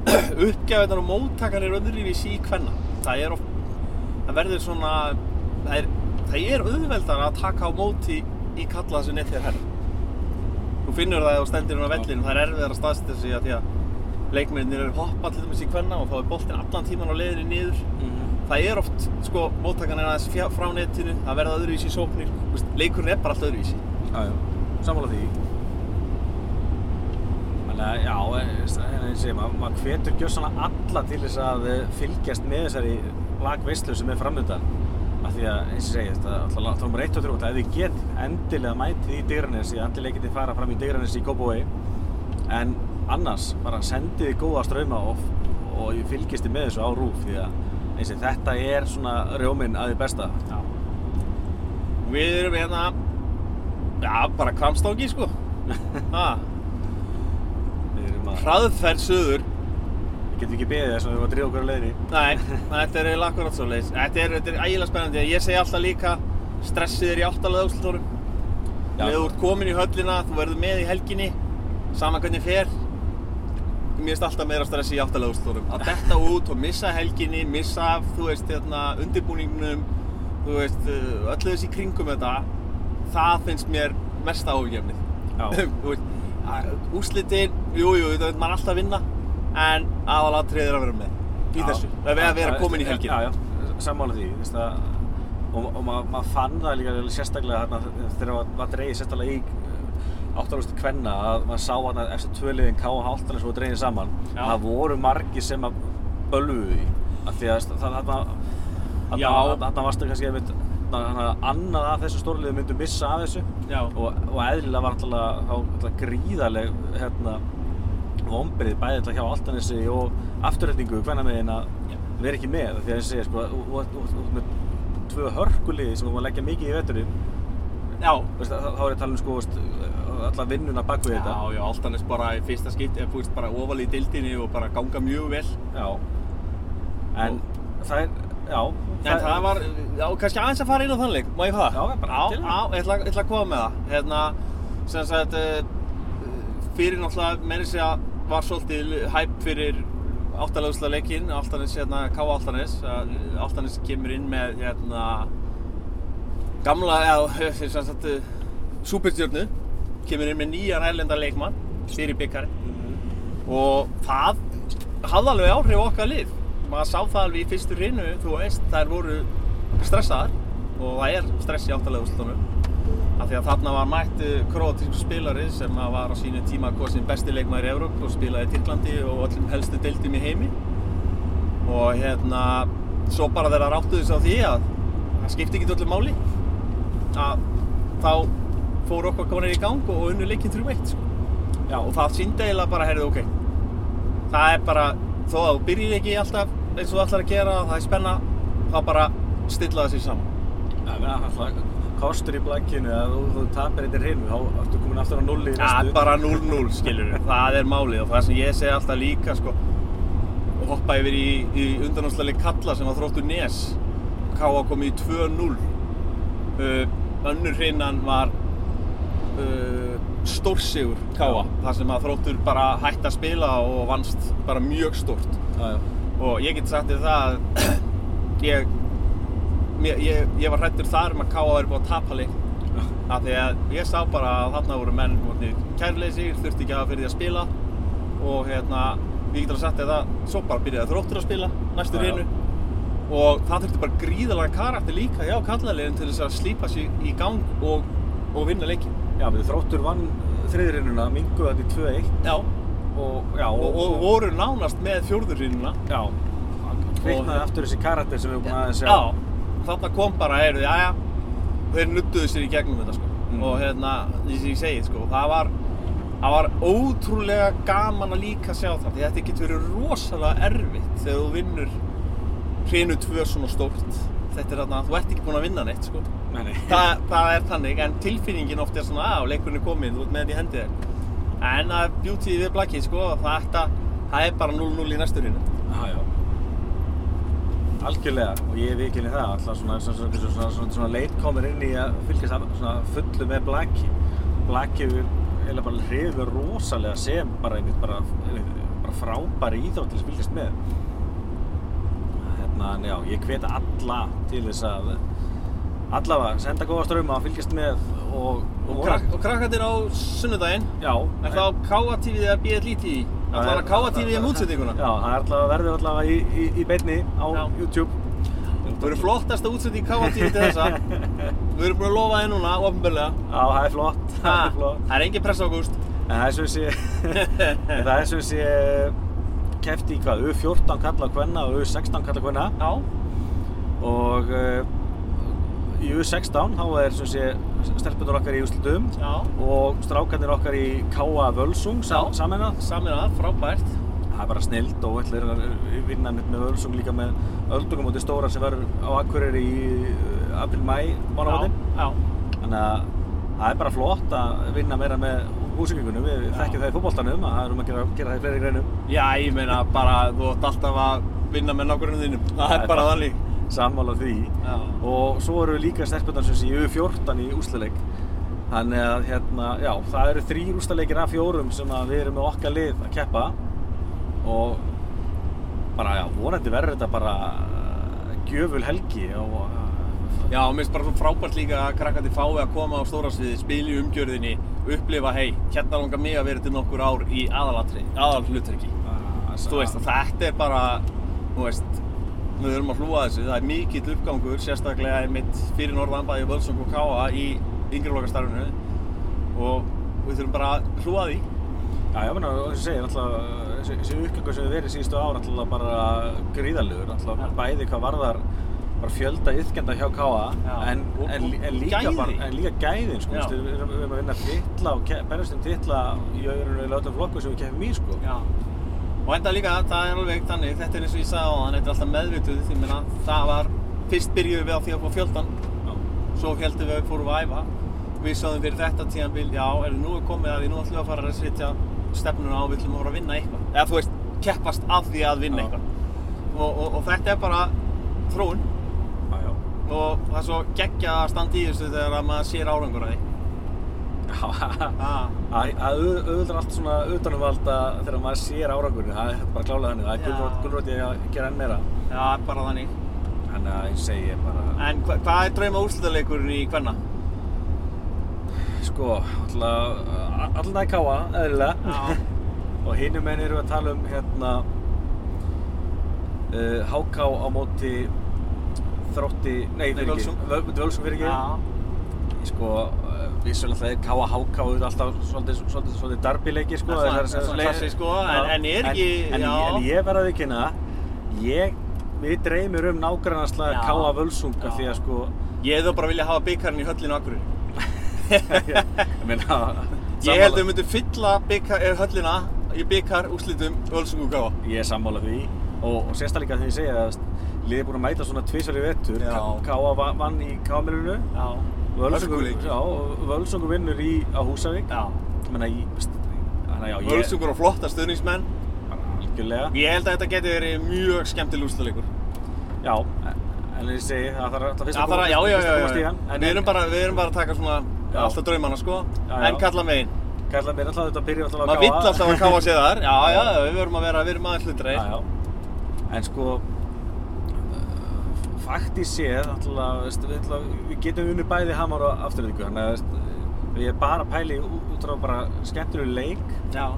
[SPEAKER 2] uppgjafinnar og móttakan er öðruvísi í hvenna. Það er of, það verður svona, það er, það er auðveldar að taka á móti í kalla þessu netið herr. Þú finnur það ef þú stendir hún á vellinu, það er erfiðar að staðsetja sig að því að leikmennir eru hoppa til dæmis í hvenna og þá er boltinn allan tíman á leiðinni niður. Það er oft, sko, móttakan er aðeins fjá- frá netinu, það verða öðruvísi sóknir, Þú veist, leikurinn er bara allt öðruvísi.
[SPEAKER 1] Já, já, sammála því Þannig að, já, en hérna eins og ég, maður mað hvetur gjössanlega alla til þess að eh, fylgjast með þessari lagveislu sem er framöndan af því að, eins og ég segi, þetta er alltaf þá erum 1 og 3 þetta, ef þið get endilega mætið í Digranes ég endilega getið fara fram í Digranes í Kópavói en annars, bara sendið þið góða ströma og, og ég fylgjast þið með þessu á rúf því að, eins og ég, þetta er svona rjóminn að þið besta
[SPEAKER 2] Já. Við erum hérna, já, bara kvamstóki, sko. Ha,
[SPEAKER 1] við erum að,
[SPEAKER 2] hraðferð suður.
[SPEAKER 1] getum ekki beðið þess að við erum að dríða okkur á leiðinni
[SPEAKER 2] Nei, þetta er eiginlega akkurat svo leis. Þetta er, þetta er ægilega spennandi. Ég segi alltaf líka, stressið er í áttalega úrslutórum.
[SPEAKER 1] Já.
[SPEAKER 2] Þegar þú ert komin í höllina, þú verður með í helginni, sama hvernig fer. Mér finnst alltaf meira stress í áttalega úrslutórum. Að detta út og missa helginni, missa af, þú veist, hérna, undirbúningnum, þú veist, uh, öllu þessi kringum þetta, það finnst mér mesta áhugjefnið.
[SPEAKER 1] Já.
[SPEAKER 2] Þú veist, að- úrslitin, jú, jú, þetta veit maður alltaf vinna, en aðalatriðið er að vera með í
[SPEAKER 1] Já.
[SPEAKER 2] þessu. Það er að vera
[SPEAKER 1] Já,
[SPEAKER 2] komin í helgin.
[SPEAKER 1] Já, já, sammála því, veist að og, og maður ma fann það líka alveg sérstaklega þarna þegar maður ma dreigði sérstaklega í áttalvöstu kvenna að maður sá hann að eftir tvöliðin K og Háltanes voru dreigðin saman
[SPEAKER 2] Já.
[SPEAKER 1] það voru margi sem að bölvuðu því af því að það þarna þarna-
[SPEAKER 2] Já.
[SPEAKER 1] þarna þarna varstu kannski einmitt þannig að annað af þessu stórliðu myndu missa af þessu
[SPEAKER 2] Já.
[SPEAKER 1] og, og eðlilega var alltaf, þá, alltaf gríðaleg hérna, vombrið bæði alltaf hjá Altanesi og afturhætningu hvenna megin að
[SPEAKER 2] Já.
[SPEAKER 1] vera ekki með því að ég segja sko, þú- þú þú- þú ert með tvö hörkulið sem þú maður leggja mikið í veturinn
[SPEAKER 2] Já,
[SPEAKER 1] Veist, þá þá er ég að tala um sko, veist, alla vinnuna bak við þetta.
[SPEAKER 2] já, já, Altanes bara í fyrsta skipti, eða þú veist, bara ofal í dildinni og bara ganga mjög vel.
[SPEAKER 1] Já. En það er, já.
[SPEAKER 2] En það var, já, kannski aðeins að fara inn á þann leik, má ég fara?
[SPEAKER 1] Já, bara
[SPEAKER 2] Já,
[SPEAKER 1] til.
[SPEAKER 2] já, ég ætla, ég ætla að koma með það. Hérna, sem sagt, eh, fyrir náttúrulega, meira að segja, var svolítið hæp fyrir áttalegusla leikinn, Altanes, hérna, K. Altanes. Eh, Altanes kemur inn með, hérna, gamla, já, sem sagt, eh, superstjörnu, kemur inn með nýjan ærlenda leikmann fyrir byggari og það hafði alveg áhrif á okkar lið maður sá það alveg í fyrstu rinu þú veist, þær voru stressaðar og það er stress í áttalega úrslutunum af því að þarna var mætt kroatísku spilari sem að var á sínu tíma kosin besti leikmaður í Evróp og spilaði í Tyrklandi og öllum helstu deildum í heimi og hérna svo bara þeirra ráttuðu sig á því að það skipti ekki öllu máli að þá fór okkar konir í gang og unnu leikinn 3-1 sko. Já, og það síndi eiginlega bara, heyrðu, ok, það er bara, þó að þú byrjir ekki alltaf eins og þú ætlar að gera, það er spenna, þá bara stilla það sér saman.
[SPEAKER 1] Já, menn, alltaf, kostur í blakkinu, ef þú, þú tapir þetta hreinu, þá ertu komin aftur á nulli í
[SPEAKER 2] Það er
[SPEAKER 1] næstu.
[SPEAKER 2] bara 0-0, skilur við, það er málið og það sem ég segi alltaf líka, sko, og hoppa yfir í, í undanúslali Kalla sem var þróttu Nes, K.A. komið í 2-0. Uh, önnur hreinan var uh, stórsigur K.A. þar sem að þróttur bara hætti að spila og vannst bara mjög stórt.
[SPEAKER 1] Já, já.
[SPEAKER 2] og ég get sagt þér það að ég, mér- ég, ég var hrættur þar um að K.A. er búið að tapa leik af því að ég sá bara að þarna voru menn kærleysir, þurfti ekki að hafa fyrir því að spila og hérna, ég get alveg sagt þér það svo bara byrjaði þróttur að spila næstu
[SPEAKER 1] Já, já.
[SPEAKER 2] reynu og það þurfti bara gríðalega karakter líka já, kallarlegin til þess að slípa sig í gang og, og vinna leikin
[SPEAKER 1] Já, við þróttur vann þriðirinnuna, minguðu þetta í 2-1
[SPEAKER 2] já,
[SPEAKER 1] og, já,
[SPEAKER 2] og, og voru nánast með fjórðurrýnuna
[SPEAKER 1] já. Kviknaði
[SPEAKER 2] Og-
[SPEAKER 1] aftur þessi karakter sem við erum búin aðeins sjá.
[SPEAKER 2] Já, þarna kom bara, heyrðu, jæja, þeir nuttuðu sér í gegnum þetta, sko.
[SPEAKER 1] Mm.
[SPEAKER 2] Og hérna, eins og ég segi, sko, það var, það var ótrúlega gaman að líka sjá það, því þetta getur verið rosalega erfitt þegar þú vinnur hrinu tvö svona stórt. Þetta er þarna, þú ert ekki búinn að vinna neitt, sko.
[SPEAKER 1] Nei, nei.
[SPEAKER 2] Þa, það er þannig, en tilfinningin oft er svona, að leikurinn er kominn, þú ert með þetta í hendi þér. En það er beauty við blakið, sko, það, ætta, það er bara 0-0 í næstu hrinu.
[SPEAKER 1] Já, já. Algjörlega, og ég viðkynni það, alltaf svona, svona, svona, svona, svona, svona, svona leit komir inn í að fylgjast af- svona fullu með Blacki. Blacki hefur eiginlega bara hrifur rosalega sem bara einmitt bara, einmitt, bara frábæri íþrótt til að fylgjast með. Hérna, en já, ég hveti alla til þess að allavega senda góða ströma að fylgjast með og,
[SPEAKER 2] Og, krak og krakkandir á sunnudaginn,
[SPEAKER 1] Já,
[SPEAKER 2] Er þá KA-tífið eða BL-tífið? Það var að KA-tífið um útsendinguna.
[SPEAKER 1] Já, það er allavega verður allavega í, í, í beinni á
[SPEAKER 2] Já.
[SPEAKER 1] YouTube.
[SPEAKER 2] Þú eru flottasta útsending KA-tífið til þessa. Við erum búin að lofa þið núna, ofnbörlega.
[SPEAKER 1] Já, það er flott, það er flott.
[SPEAKER 2] Það er engin pressa ágúst.
[SPEAKER 1] En það er sem sé, en það er sem sé kefti í hvað, U14 kalla hvenna og U16 kalla hvenna
[SPEAKER 2] Já.
[SPEAKER 1] og uh, í U16 þá er sem sé stelpunur okkar í úrslutum
[SPEAKER 2] Já.
[SPEAKER 1] og strákarnir okkar í K.A. Völsung sam
[SPEAKER 2] Já.
[SPEAKER 1] samennað.
[SPEAKER 2] Samin að, frábært.
[SPEAKER 1] Það er bara snild og ætla er að vinna mitt með Völsung líka með öldungum út í stóra sem verður á Akureyri í uh, april-mæ mánavatinn.
[SPEAKER 2] Já.
[SPEAKER 1] Þannig að það er bara flott að vinna meira með húsingingunum, við
[SPEAKER 2] Já.
[SPEAKER 1] þekkjum það í fótboltanum að það er um að gera, gera það í fleiri greinum.
[SPEAKER 2] já. Já, ég meina bara þú ætti alltaf að vinna með nákvæmlega þínum. Það er bara þannig.
[SPEAKER 1] Sammála því.
[SPEAKER 2] Já.
[SPEAKER 1] Og svo eru líka stelpunar sem sé í U14 í úslileik. Þannig að hérna, já, það eru þrýr úslileikir af fjórum sem að við erum með okkar lið að keppa og bara, já, vonandi verður þetta bara uh, gjöful helgi og uh,
[SPEAKER 2] Já, og mér finnst bara svo frábært líka að krakkandi fái að koma á stóra sviði, spila í umgjörðinni, upplifa, hei, hérna langar mig að vera til nokkur ár í aðalatri, aðal þú veist, að þetta er bara, þú veist, við erum að hlúa að þessu, það er mikill uppgangur, sérstaklega einmitt fyrir norðan bæði Völsung og Káa í yngri lokastarfinu og við þurfum bara að hlúa að því.
[SPEAKER 1] Já, ég meina, og þessi segir alltaf, þessi uppgangur sem við verið síðustu ára alltaf bara gríðalegur, alltaf bæði hvað varðar bara fjölda yðkenda hjá K.A.
[SPEAKER 2] Já.
[SPEAKER 1] En,
[SPEAKER 2] Og-
[SPEAKER 1] en,
[SPEAKER 2] og-
[SPEAKER 1] en
[SPEAKER 2] og
[SPEAKER 1] líka
[SPEAKER 2] gæði.
[SPEAKER 1] bara, en líka gæðin, sko,
[SPEAKER 2] Já.
[SPEAKER 1] veistu, við erum við erum að vinna titla og berjast um titla í öðrunni látum flokku sem við keppum í, sko.
[SPEAKER 2] Já. Og enda líka, það er alveg þannig, þetta er eins og ég sagði á þann, þetta er alltaf meðvituð, því minna, það var, fyrst byrjuðum við á því að fá fjöldan,
[SPEAKER 1] Já.
[SPEAKER 2] svo heldum við að við fórum að æfa við sáðum fyrir þetta tíðanbíl, já, er nú er komið að því nú ætlum við að fara að setja stefnuna á, við ætlum að fara að vinna eitthvað. Eða þú veist, keppast að því að vinna
[SPEAKER 1] Já.
[SPEAKER 2] eitthvað. Og, og, og þetta er bara þróun
[SPEAKER 1] Já, já.
[SPEAKER 2] og það er svo geggja að standa í þessu þegar að maður sér árangur að því.
[SPEAKER 1] Já,
[SPEAKER 2] Ah.
[SPEAKER 1] Æ, Það auð- auðveldar allt svona utanumvalda þegar maður sér árangurinn, það er bara klálega þannig, það
[SPEAKER 2] Já.
[SPEAKER 1] er gulrótið að gera enn meira.
[SPEAKER 2] Já, bara þannig.
[SPEAKER 1] Þannig að ég segi bara,
[SPEAKER 2] En hva, hvað er drauma úrslutaleikurinn í hvenna?
[SPEAKER 1] sko, alltaf, alltaf í káa, eðlilega.
[SPEAKER 2] Já.
[SPEAKER 1] og hinum enn erum við að tala um hérna uh, HK á móti þrótti, nei,
[SPEAKER 2] Nei,
[SPEAKER 1] fyrir ekki,
[SPEAKER 2] Völsung.
[SPEAKER 1] Völsung fyrir ekki.
[SPEAKER 2] Já.
[SPEAKER 1] sko, uh, vissulega það er K.A. H.K. auðvitað alltaf svolítið, svolítið, svolítið darbileiki sko
[SPEAKER 2] Það er
[SPEAKER 1] það
[SPEAKER 2] svona- svona
[SPEAKER 1] leik-
[SPEAKER 2] klassísk, sko, en-
[SPEAKER 1] Já.
[SPEAKER 2] en er ekki-
[SPEAKER 1] en, en,
[SPEAKER 2] já.
[SPEAKER 1] en ég verði að vikina ég, við dreymir um nágrannarslag
[SPEAKER 2] Já.
[SPEAKER 1] K.A. Völsung af
[SPEAKER 2] Já.
[SPEAKER 1] því að sko
[SPEAKER 2] Ég hefði þá bara viljað hafa byggarinn í höllinu akkurinn.
[SPEAKER 1] ég meina
[SPEAKER 2] Ég held um
[SPEAKER 1] sammála-
[SPEAKER 2] að þau myndu fylla bikar, eh, höllina í bikar úrslitum Völsungugáa.
[SPEAKER 1] ég er sammála því og, og sérstaklega þegar ég segja að liðið er búin að mæta svona tvisar í vettur
[SPEAKER 2] Já.
[SPEAKER 1] K.A. va- vann í K.A.-milinu
[SPEAKER 2] Já. Hörkuleik.
[SPEAKER 1] Völsungur vinnur í á Húsavík
[SPEAKER 2] Já.
[SPEAKER 1] Ég meina, ég- þannig að já, ég-
[SPEAKER 2] Völsungur á flotta stuðningsmenn.
[SPEAKER 1] algjörlega
[SPEAKER 2] Ég held að þetta geti verið mjög skemmtileg úrslutaleikur.
[SPEAKER 1] Já, en eins og ég segi, það þarf það fyrst
[SPEAKER 2] Já, það er að, já, já,
[SPEAKER 1] fyrst
[SPEAKER 2] já,
[SPEAKER 1] að
[SPEAKER 2] já.
[SPEAKER 1] komast í hann.
[SPEAKER 2] Við erum bara, við erum bara að taka svona
[SPEAKER 1] Já.
[SPEAKER 2] alltaf draumana, sko.
[SPEAKER 1] Já, já.
[SPEAKER 2] En kalla megin.
[SPEAKER 1] Kallar mér alltaf þetta að byrja alltaf að
[SPEAKER 2] Maður vill alltaf að káa sér þar. Já, já, við verum að vera, við erum aðeins
[SPEAKER 1] Já,
[SPEAKER 2] hlutreir.
[SPEAKER 1] já. En sko, uh, faktis séð, alltaf, veist, við, alltaf, við getum unni bæði hamar og afturlíku. Þannig að veist, ég er bara að pæli út frá bara skemmtilegu leik.
[SPEAKER 2] Já.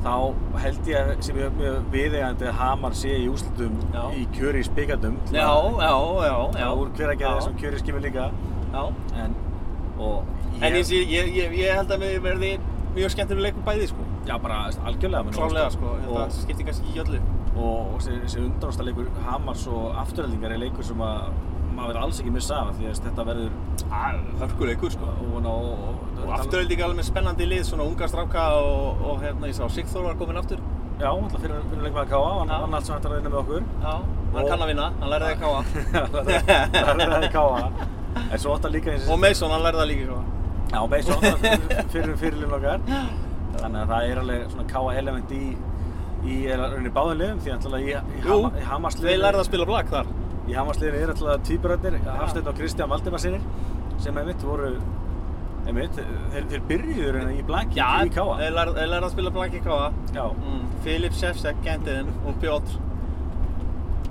[SPEAKER 1] Þá held ég að- sem ég er mjög viðegandi að hamar sé í úslutum
[SPEAKER 2] Já.
[SPEAKER 1] í kjöri í spikandum.
[SPEAKER 2] Já, já, já, já.
[SPEAKER 1] Úr hver að
[SPEAKER 2] Já.
[SPEAKER 1] gera þessum kjöri í skimmi líka.
[SPEAKER 2] Já.
[SPEAKER 1] En, og
[SPEAKER 2] En ég, sé- ég, ég, ég held að við verði mjög skemmtileg leikur bæði sko.
[SPEAKER 1] Já, bara veist, algjörlega. menn,
[SPEAKER 2] Klálega
[SPEAKER 1] veist,
[SPEAKER 2] sko, þetta
[SPEAKER 1] og-
[SPEAKER 2] skiptir kannski ekki í öllu.
[SPEAKER 1] og og þessi þessi undanústa leikur Hamars og afturhaldingar er leikur sem að maður verður alls ekki missa af því að þetta verður
[SPEAKER 2] Hörkuleikur sko.
[SPEAKER 1] og, og, og,
[SPEAKER 2] Og afturöld ekki alveg með spennandi lið, svona unga stráka og, og hérna ég sá Sigþór var komin aftur.
[SPEAKER 1] Já, alltaf fyrir, fyrir leikmaði K.A. hann
[SPEAKER 2] Já.
[SPEAKER 1] vann allt sem hægt er að vinna með okkur
[SPEAKER 2] Já, hann
[SPEAKER 1] Og-
[SPEAKER 2] kann að vinna, hann lærði að káa.
[SPEAKER 1] Það er það í K.A. En svo átt að líka eins
[SPEAKER 2] og Mason, hann lærði að líka káa.
[SPEAKER 1] Já, með svo átt að fyrir fyrirlinn okkar Þannig að það er alveg svona K.A. element í í eiginlega rauninni báðum liðum því að í, í,
[SPEAKER 2] Jú,
[SPEAKER 1] Hama- í Hamarsliðinu
[SPEAKER 2] þeir lærði að spila blakk þar.
[SPEAKER 1] Í Hamarsliðinu er alltaf tvíburarnir, Hafsteinn og Kristján Valdimarsinir sem einmitt voru einmitt, þeir, þeir byrjuður hérna í blanki í Káa
[SPEAKER 2] þeir lærði, þeir lærði að spila blakk í káa.
[SPEAKER 1] Já,
[SPEAKER 2] Mm, Filip Sefsek, Gentin og Pjótr.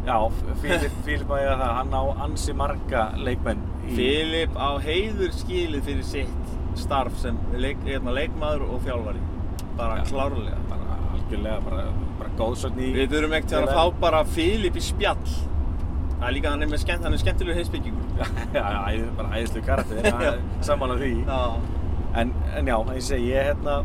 [SPEAKER 1] já, Fílip, Fílip að ég að það, hann á ansi marga leikmenn í
[SPEAKER 2] Filip á heiður skilið fyrir sitt starf sem leik, hérna, leikmaður og þjálfari bara
[SPEAKER 1] Já.
[SPEAKER 2] klárlega
[SPEAKER 1] bara algjörlega, bara, bara góðsögn í
[SPEAKER 2] við þurfum ekkert að fá bara Filip í spjall það er líka hann er, með skemmt, hann er skemmtilegur heimsbyggingur
[SPEAKER 1] Já, já, æði- bara æðislu karakter, það er saman á því
[SPEAKER 2] já,
[SPEAKER 1] en, en já, eins og ég segi, ég hérna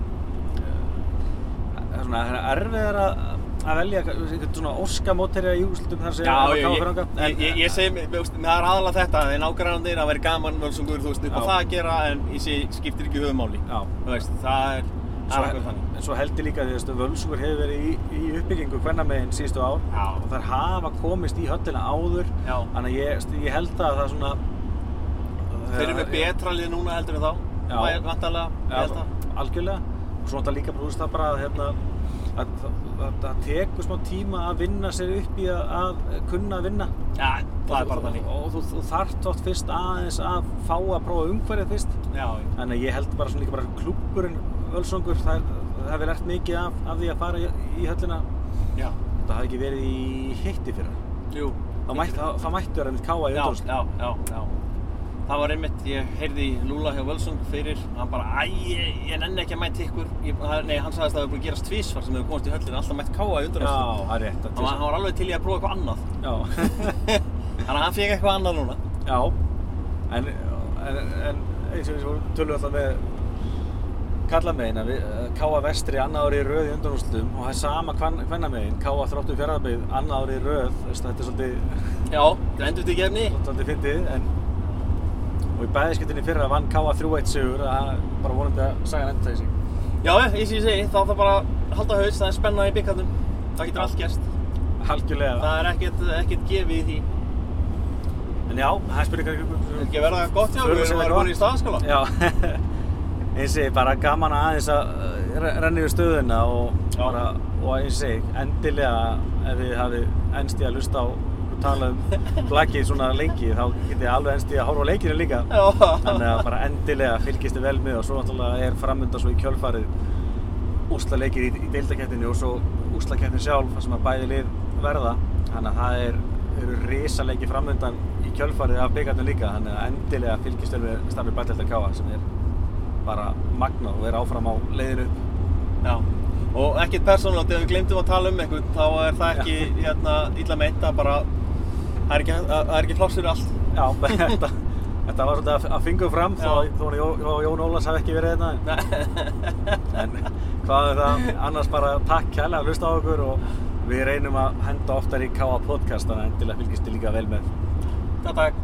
[SPEAKER 1] eh, svona það er erfiðar að, að velja einhvern svona óskamóterja í úrslutum þar sem
[SPEAKER 2] já
[SPEAKER 1] að
[SPEAKER 2] ég,
[SPEAKER 1] KFA
[SPEAKER 2] ég,
[SPEAKER 1] þangað, en-
[SPEAKER 2] ég, ég, ég segi mér, veist, það er aðalega þetta þeir nágrænandir að vera gaman völsungur þú veist upp á
[SPEAKER 1] Já.
[SPEAKER 2] það að gera en ég sé skiptir ekki höfumáli
[SPEAKER 1] Já,
[SPEAKER 2] þú veist það er það er akkur
[SPEAKER 1] svo,
[SPEAKER 2] þannig
[SPEAKER 1] en svo held ég líka að því að völsungur hefur verið í, í uppbyggingu hvernamegin síðustu ár
[SPEAKER 2] Já.
[SPEAKER 1] og þær hafa komist í höllina áður
[SPEAKER 2] Já.
[SPEAKER 1] þannig að ég, ég held að það svona
[SPEAKER 2] þeir eru með betra lið núna heldur en þá
[SPEAKER 1] Já.
[SPEAKER 2] vantarlega ég held
[SPEAKER 1] Já,
[SPEAKER 2] það
[SPEAKER 1] algjörlega og svona líka bara, þú veist það bara að hérna að það- það tekur smá tíma að vinna sér upp í að, að kunna að vinna
[SPEAKER 2] Já, það er bara þannig.
[SPEAKER 1] og þú, þú þarft oft fyrst aðeins að fá að prófa umhverfið fyrst
[SPEAKER 2] Já, já.
[SPEAKER 1] Þannig að ég held bara svona líka bara klúburinn Völsungur, það er- það hefur lært mikið af, af því að fara í, í höllina.
[SPEAKER 2] já.
[SPEAKER 1] Það hafði ekki verið í hitti fyrir það.
[SPEAKER 2] Jú.
[SPEAKER 1] Það mætti, það, það mætti vera einmitt káa í
[SPEAKER 2] Já,
[SPEAKER 1] auðvitað.
[SPEAKER 2] já, já, já. Það var einmitt, ég heyrði í Lúla hjá Völsung fyrir, hann bara, æ, ég, ég nenni ekki að mæta ykkur. Ég, það- nei, hann sagðist að það hefur búin að gerast tvísvar sem hefur komast í höllinu, alltaf mætt káa í
[SPEAKER 1] Já,
[SPEAKER 2] undanast.
[SPEAKER 1] það er rétt.
[SPEAKER 2] Hann, var- hann var alveg til í að prófa eitthvað annað.
[SPEAKER 1] Já,
[SPEAKER 2] Þannig að hann fekk eitthvað annað núna.
[SPEAKER 1] já. En, en, en eins og við tölum alltaf með kalla megin að við, eh, káa vestri annað ári í röð í undanúslutum og það er sama hvenna megin, káa þróttu fjörðarbyggð annað ári í röð, þú veist, þetta er svolítið
[SPEAKER 2] Já, það endur til gefni.
[SPEAKER 1] svolítið fyndið en og í bæðiskiptinni fyrra vann K.A. 3-1 sigur að það er bara vonandi að sagan enda þessi
[SPEAKER 2] Já, ég sé ég segi, þá þarf bara að halda haus, það er spennað í byggandum. Það getur allt gerst.
[SPEAKER 1] algjörlega
[SPEAKER 2] Það er ekkert, ekkert gefið í því.
[SPEAKER 1] En já, það spyrir
[SPEAKER 2] Þetta
[SPEAKER 1] kannski
[SPEAKER 2] er ekki að verða gott hjá
[SPEAKER 1] Spurðu
[SPEAKER 2] okkur, við
[SPEAKER 1] sig
[SPEAKER 2] erum
[SPEAKER 1] það
[SPEAKER 2] bara
[SPEAKER 1] gott.
[SPEAKER 2] í staðaskala.
[SPEAKER 1] Já, eins og ég segi, bara gaman að aðeins að uh, re- renna yfir stöðuna og,
[SPEAKER 2] Já.
[SPEAKER 1] bara, og eins og ég segi, endilega ef þið hafið ennst í að lusta á og tala um blaggið svona lengi þá getið alveg ennst í að horfa á leikinu líka
[SPEAKER 2] Já.
[SPEAKER 1] þannig að bara endilega fylgist þið vel með og svo náttúrulega er framönda svo í kjölfarið úsla leikir í, í deildakettinu og svo úsla sjálf þar sem að bæði lið verða þannig að það er, eru risaleiki framöndan í kjölfarið af byggarnum líka þannig að endilega fylgist þið með starfið bætleldar káa sem er bara magnað og er áfram á leiðinu upp.
[SPEAKER 2] Já. Og ekkert persónulegt, ef við glemdum að tala um einhvern, þá er það ekki, hérna, illa meint að bara, það er ekki, það það er ekki pláss fyrir allt.
[SPEAKER 1] Já, þetta, þetta var svona að, að fingu fram þó,
[SPEAKER 2] Já.
[SPEAKER 1] þó að Jó- Jó- Jón Ólafs hafi ekki verið þetta en hvað er það annars bara takk kærlega að hlusta á okkur og við reynum að henda oftar í K.A. podcast þannig að endilega fylgist þið líka vel með
[SPEAKER 2] Takk, takk.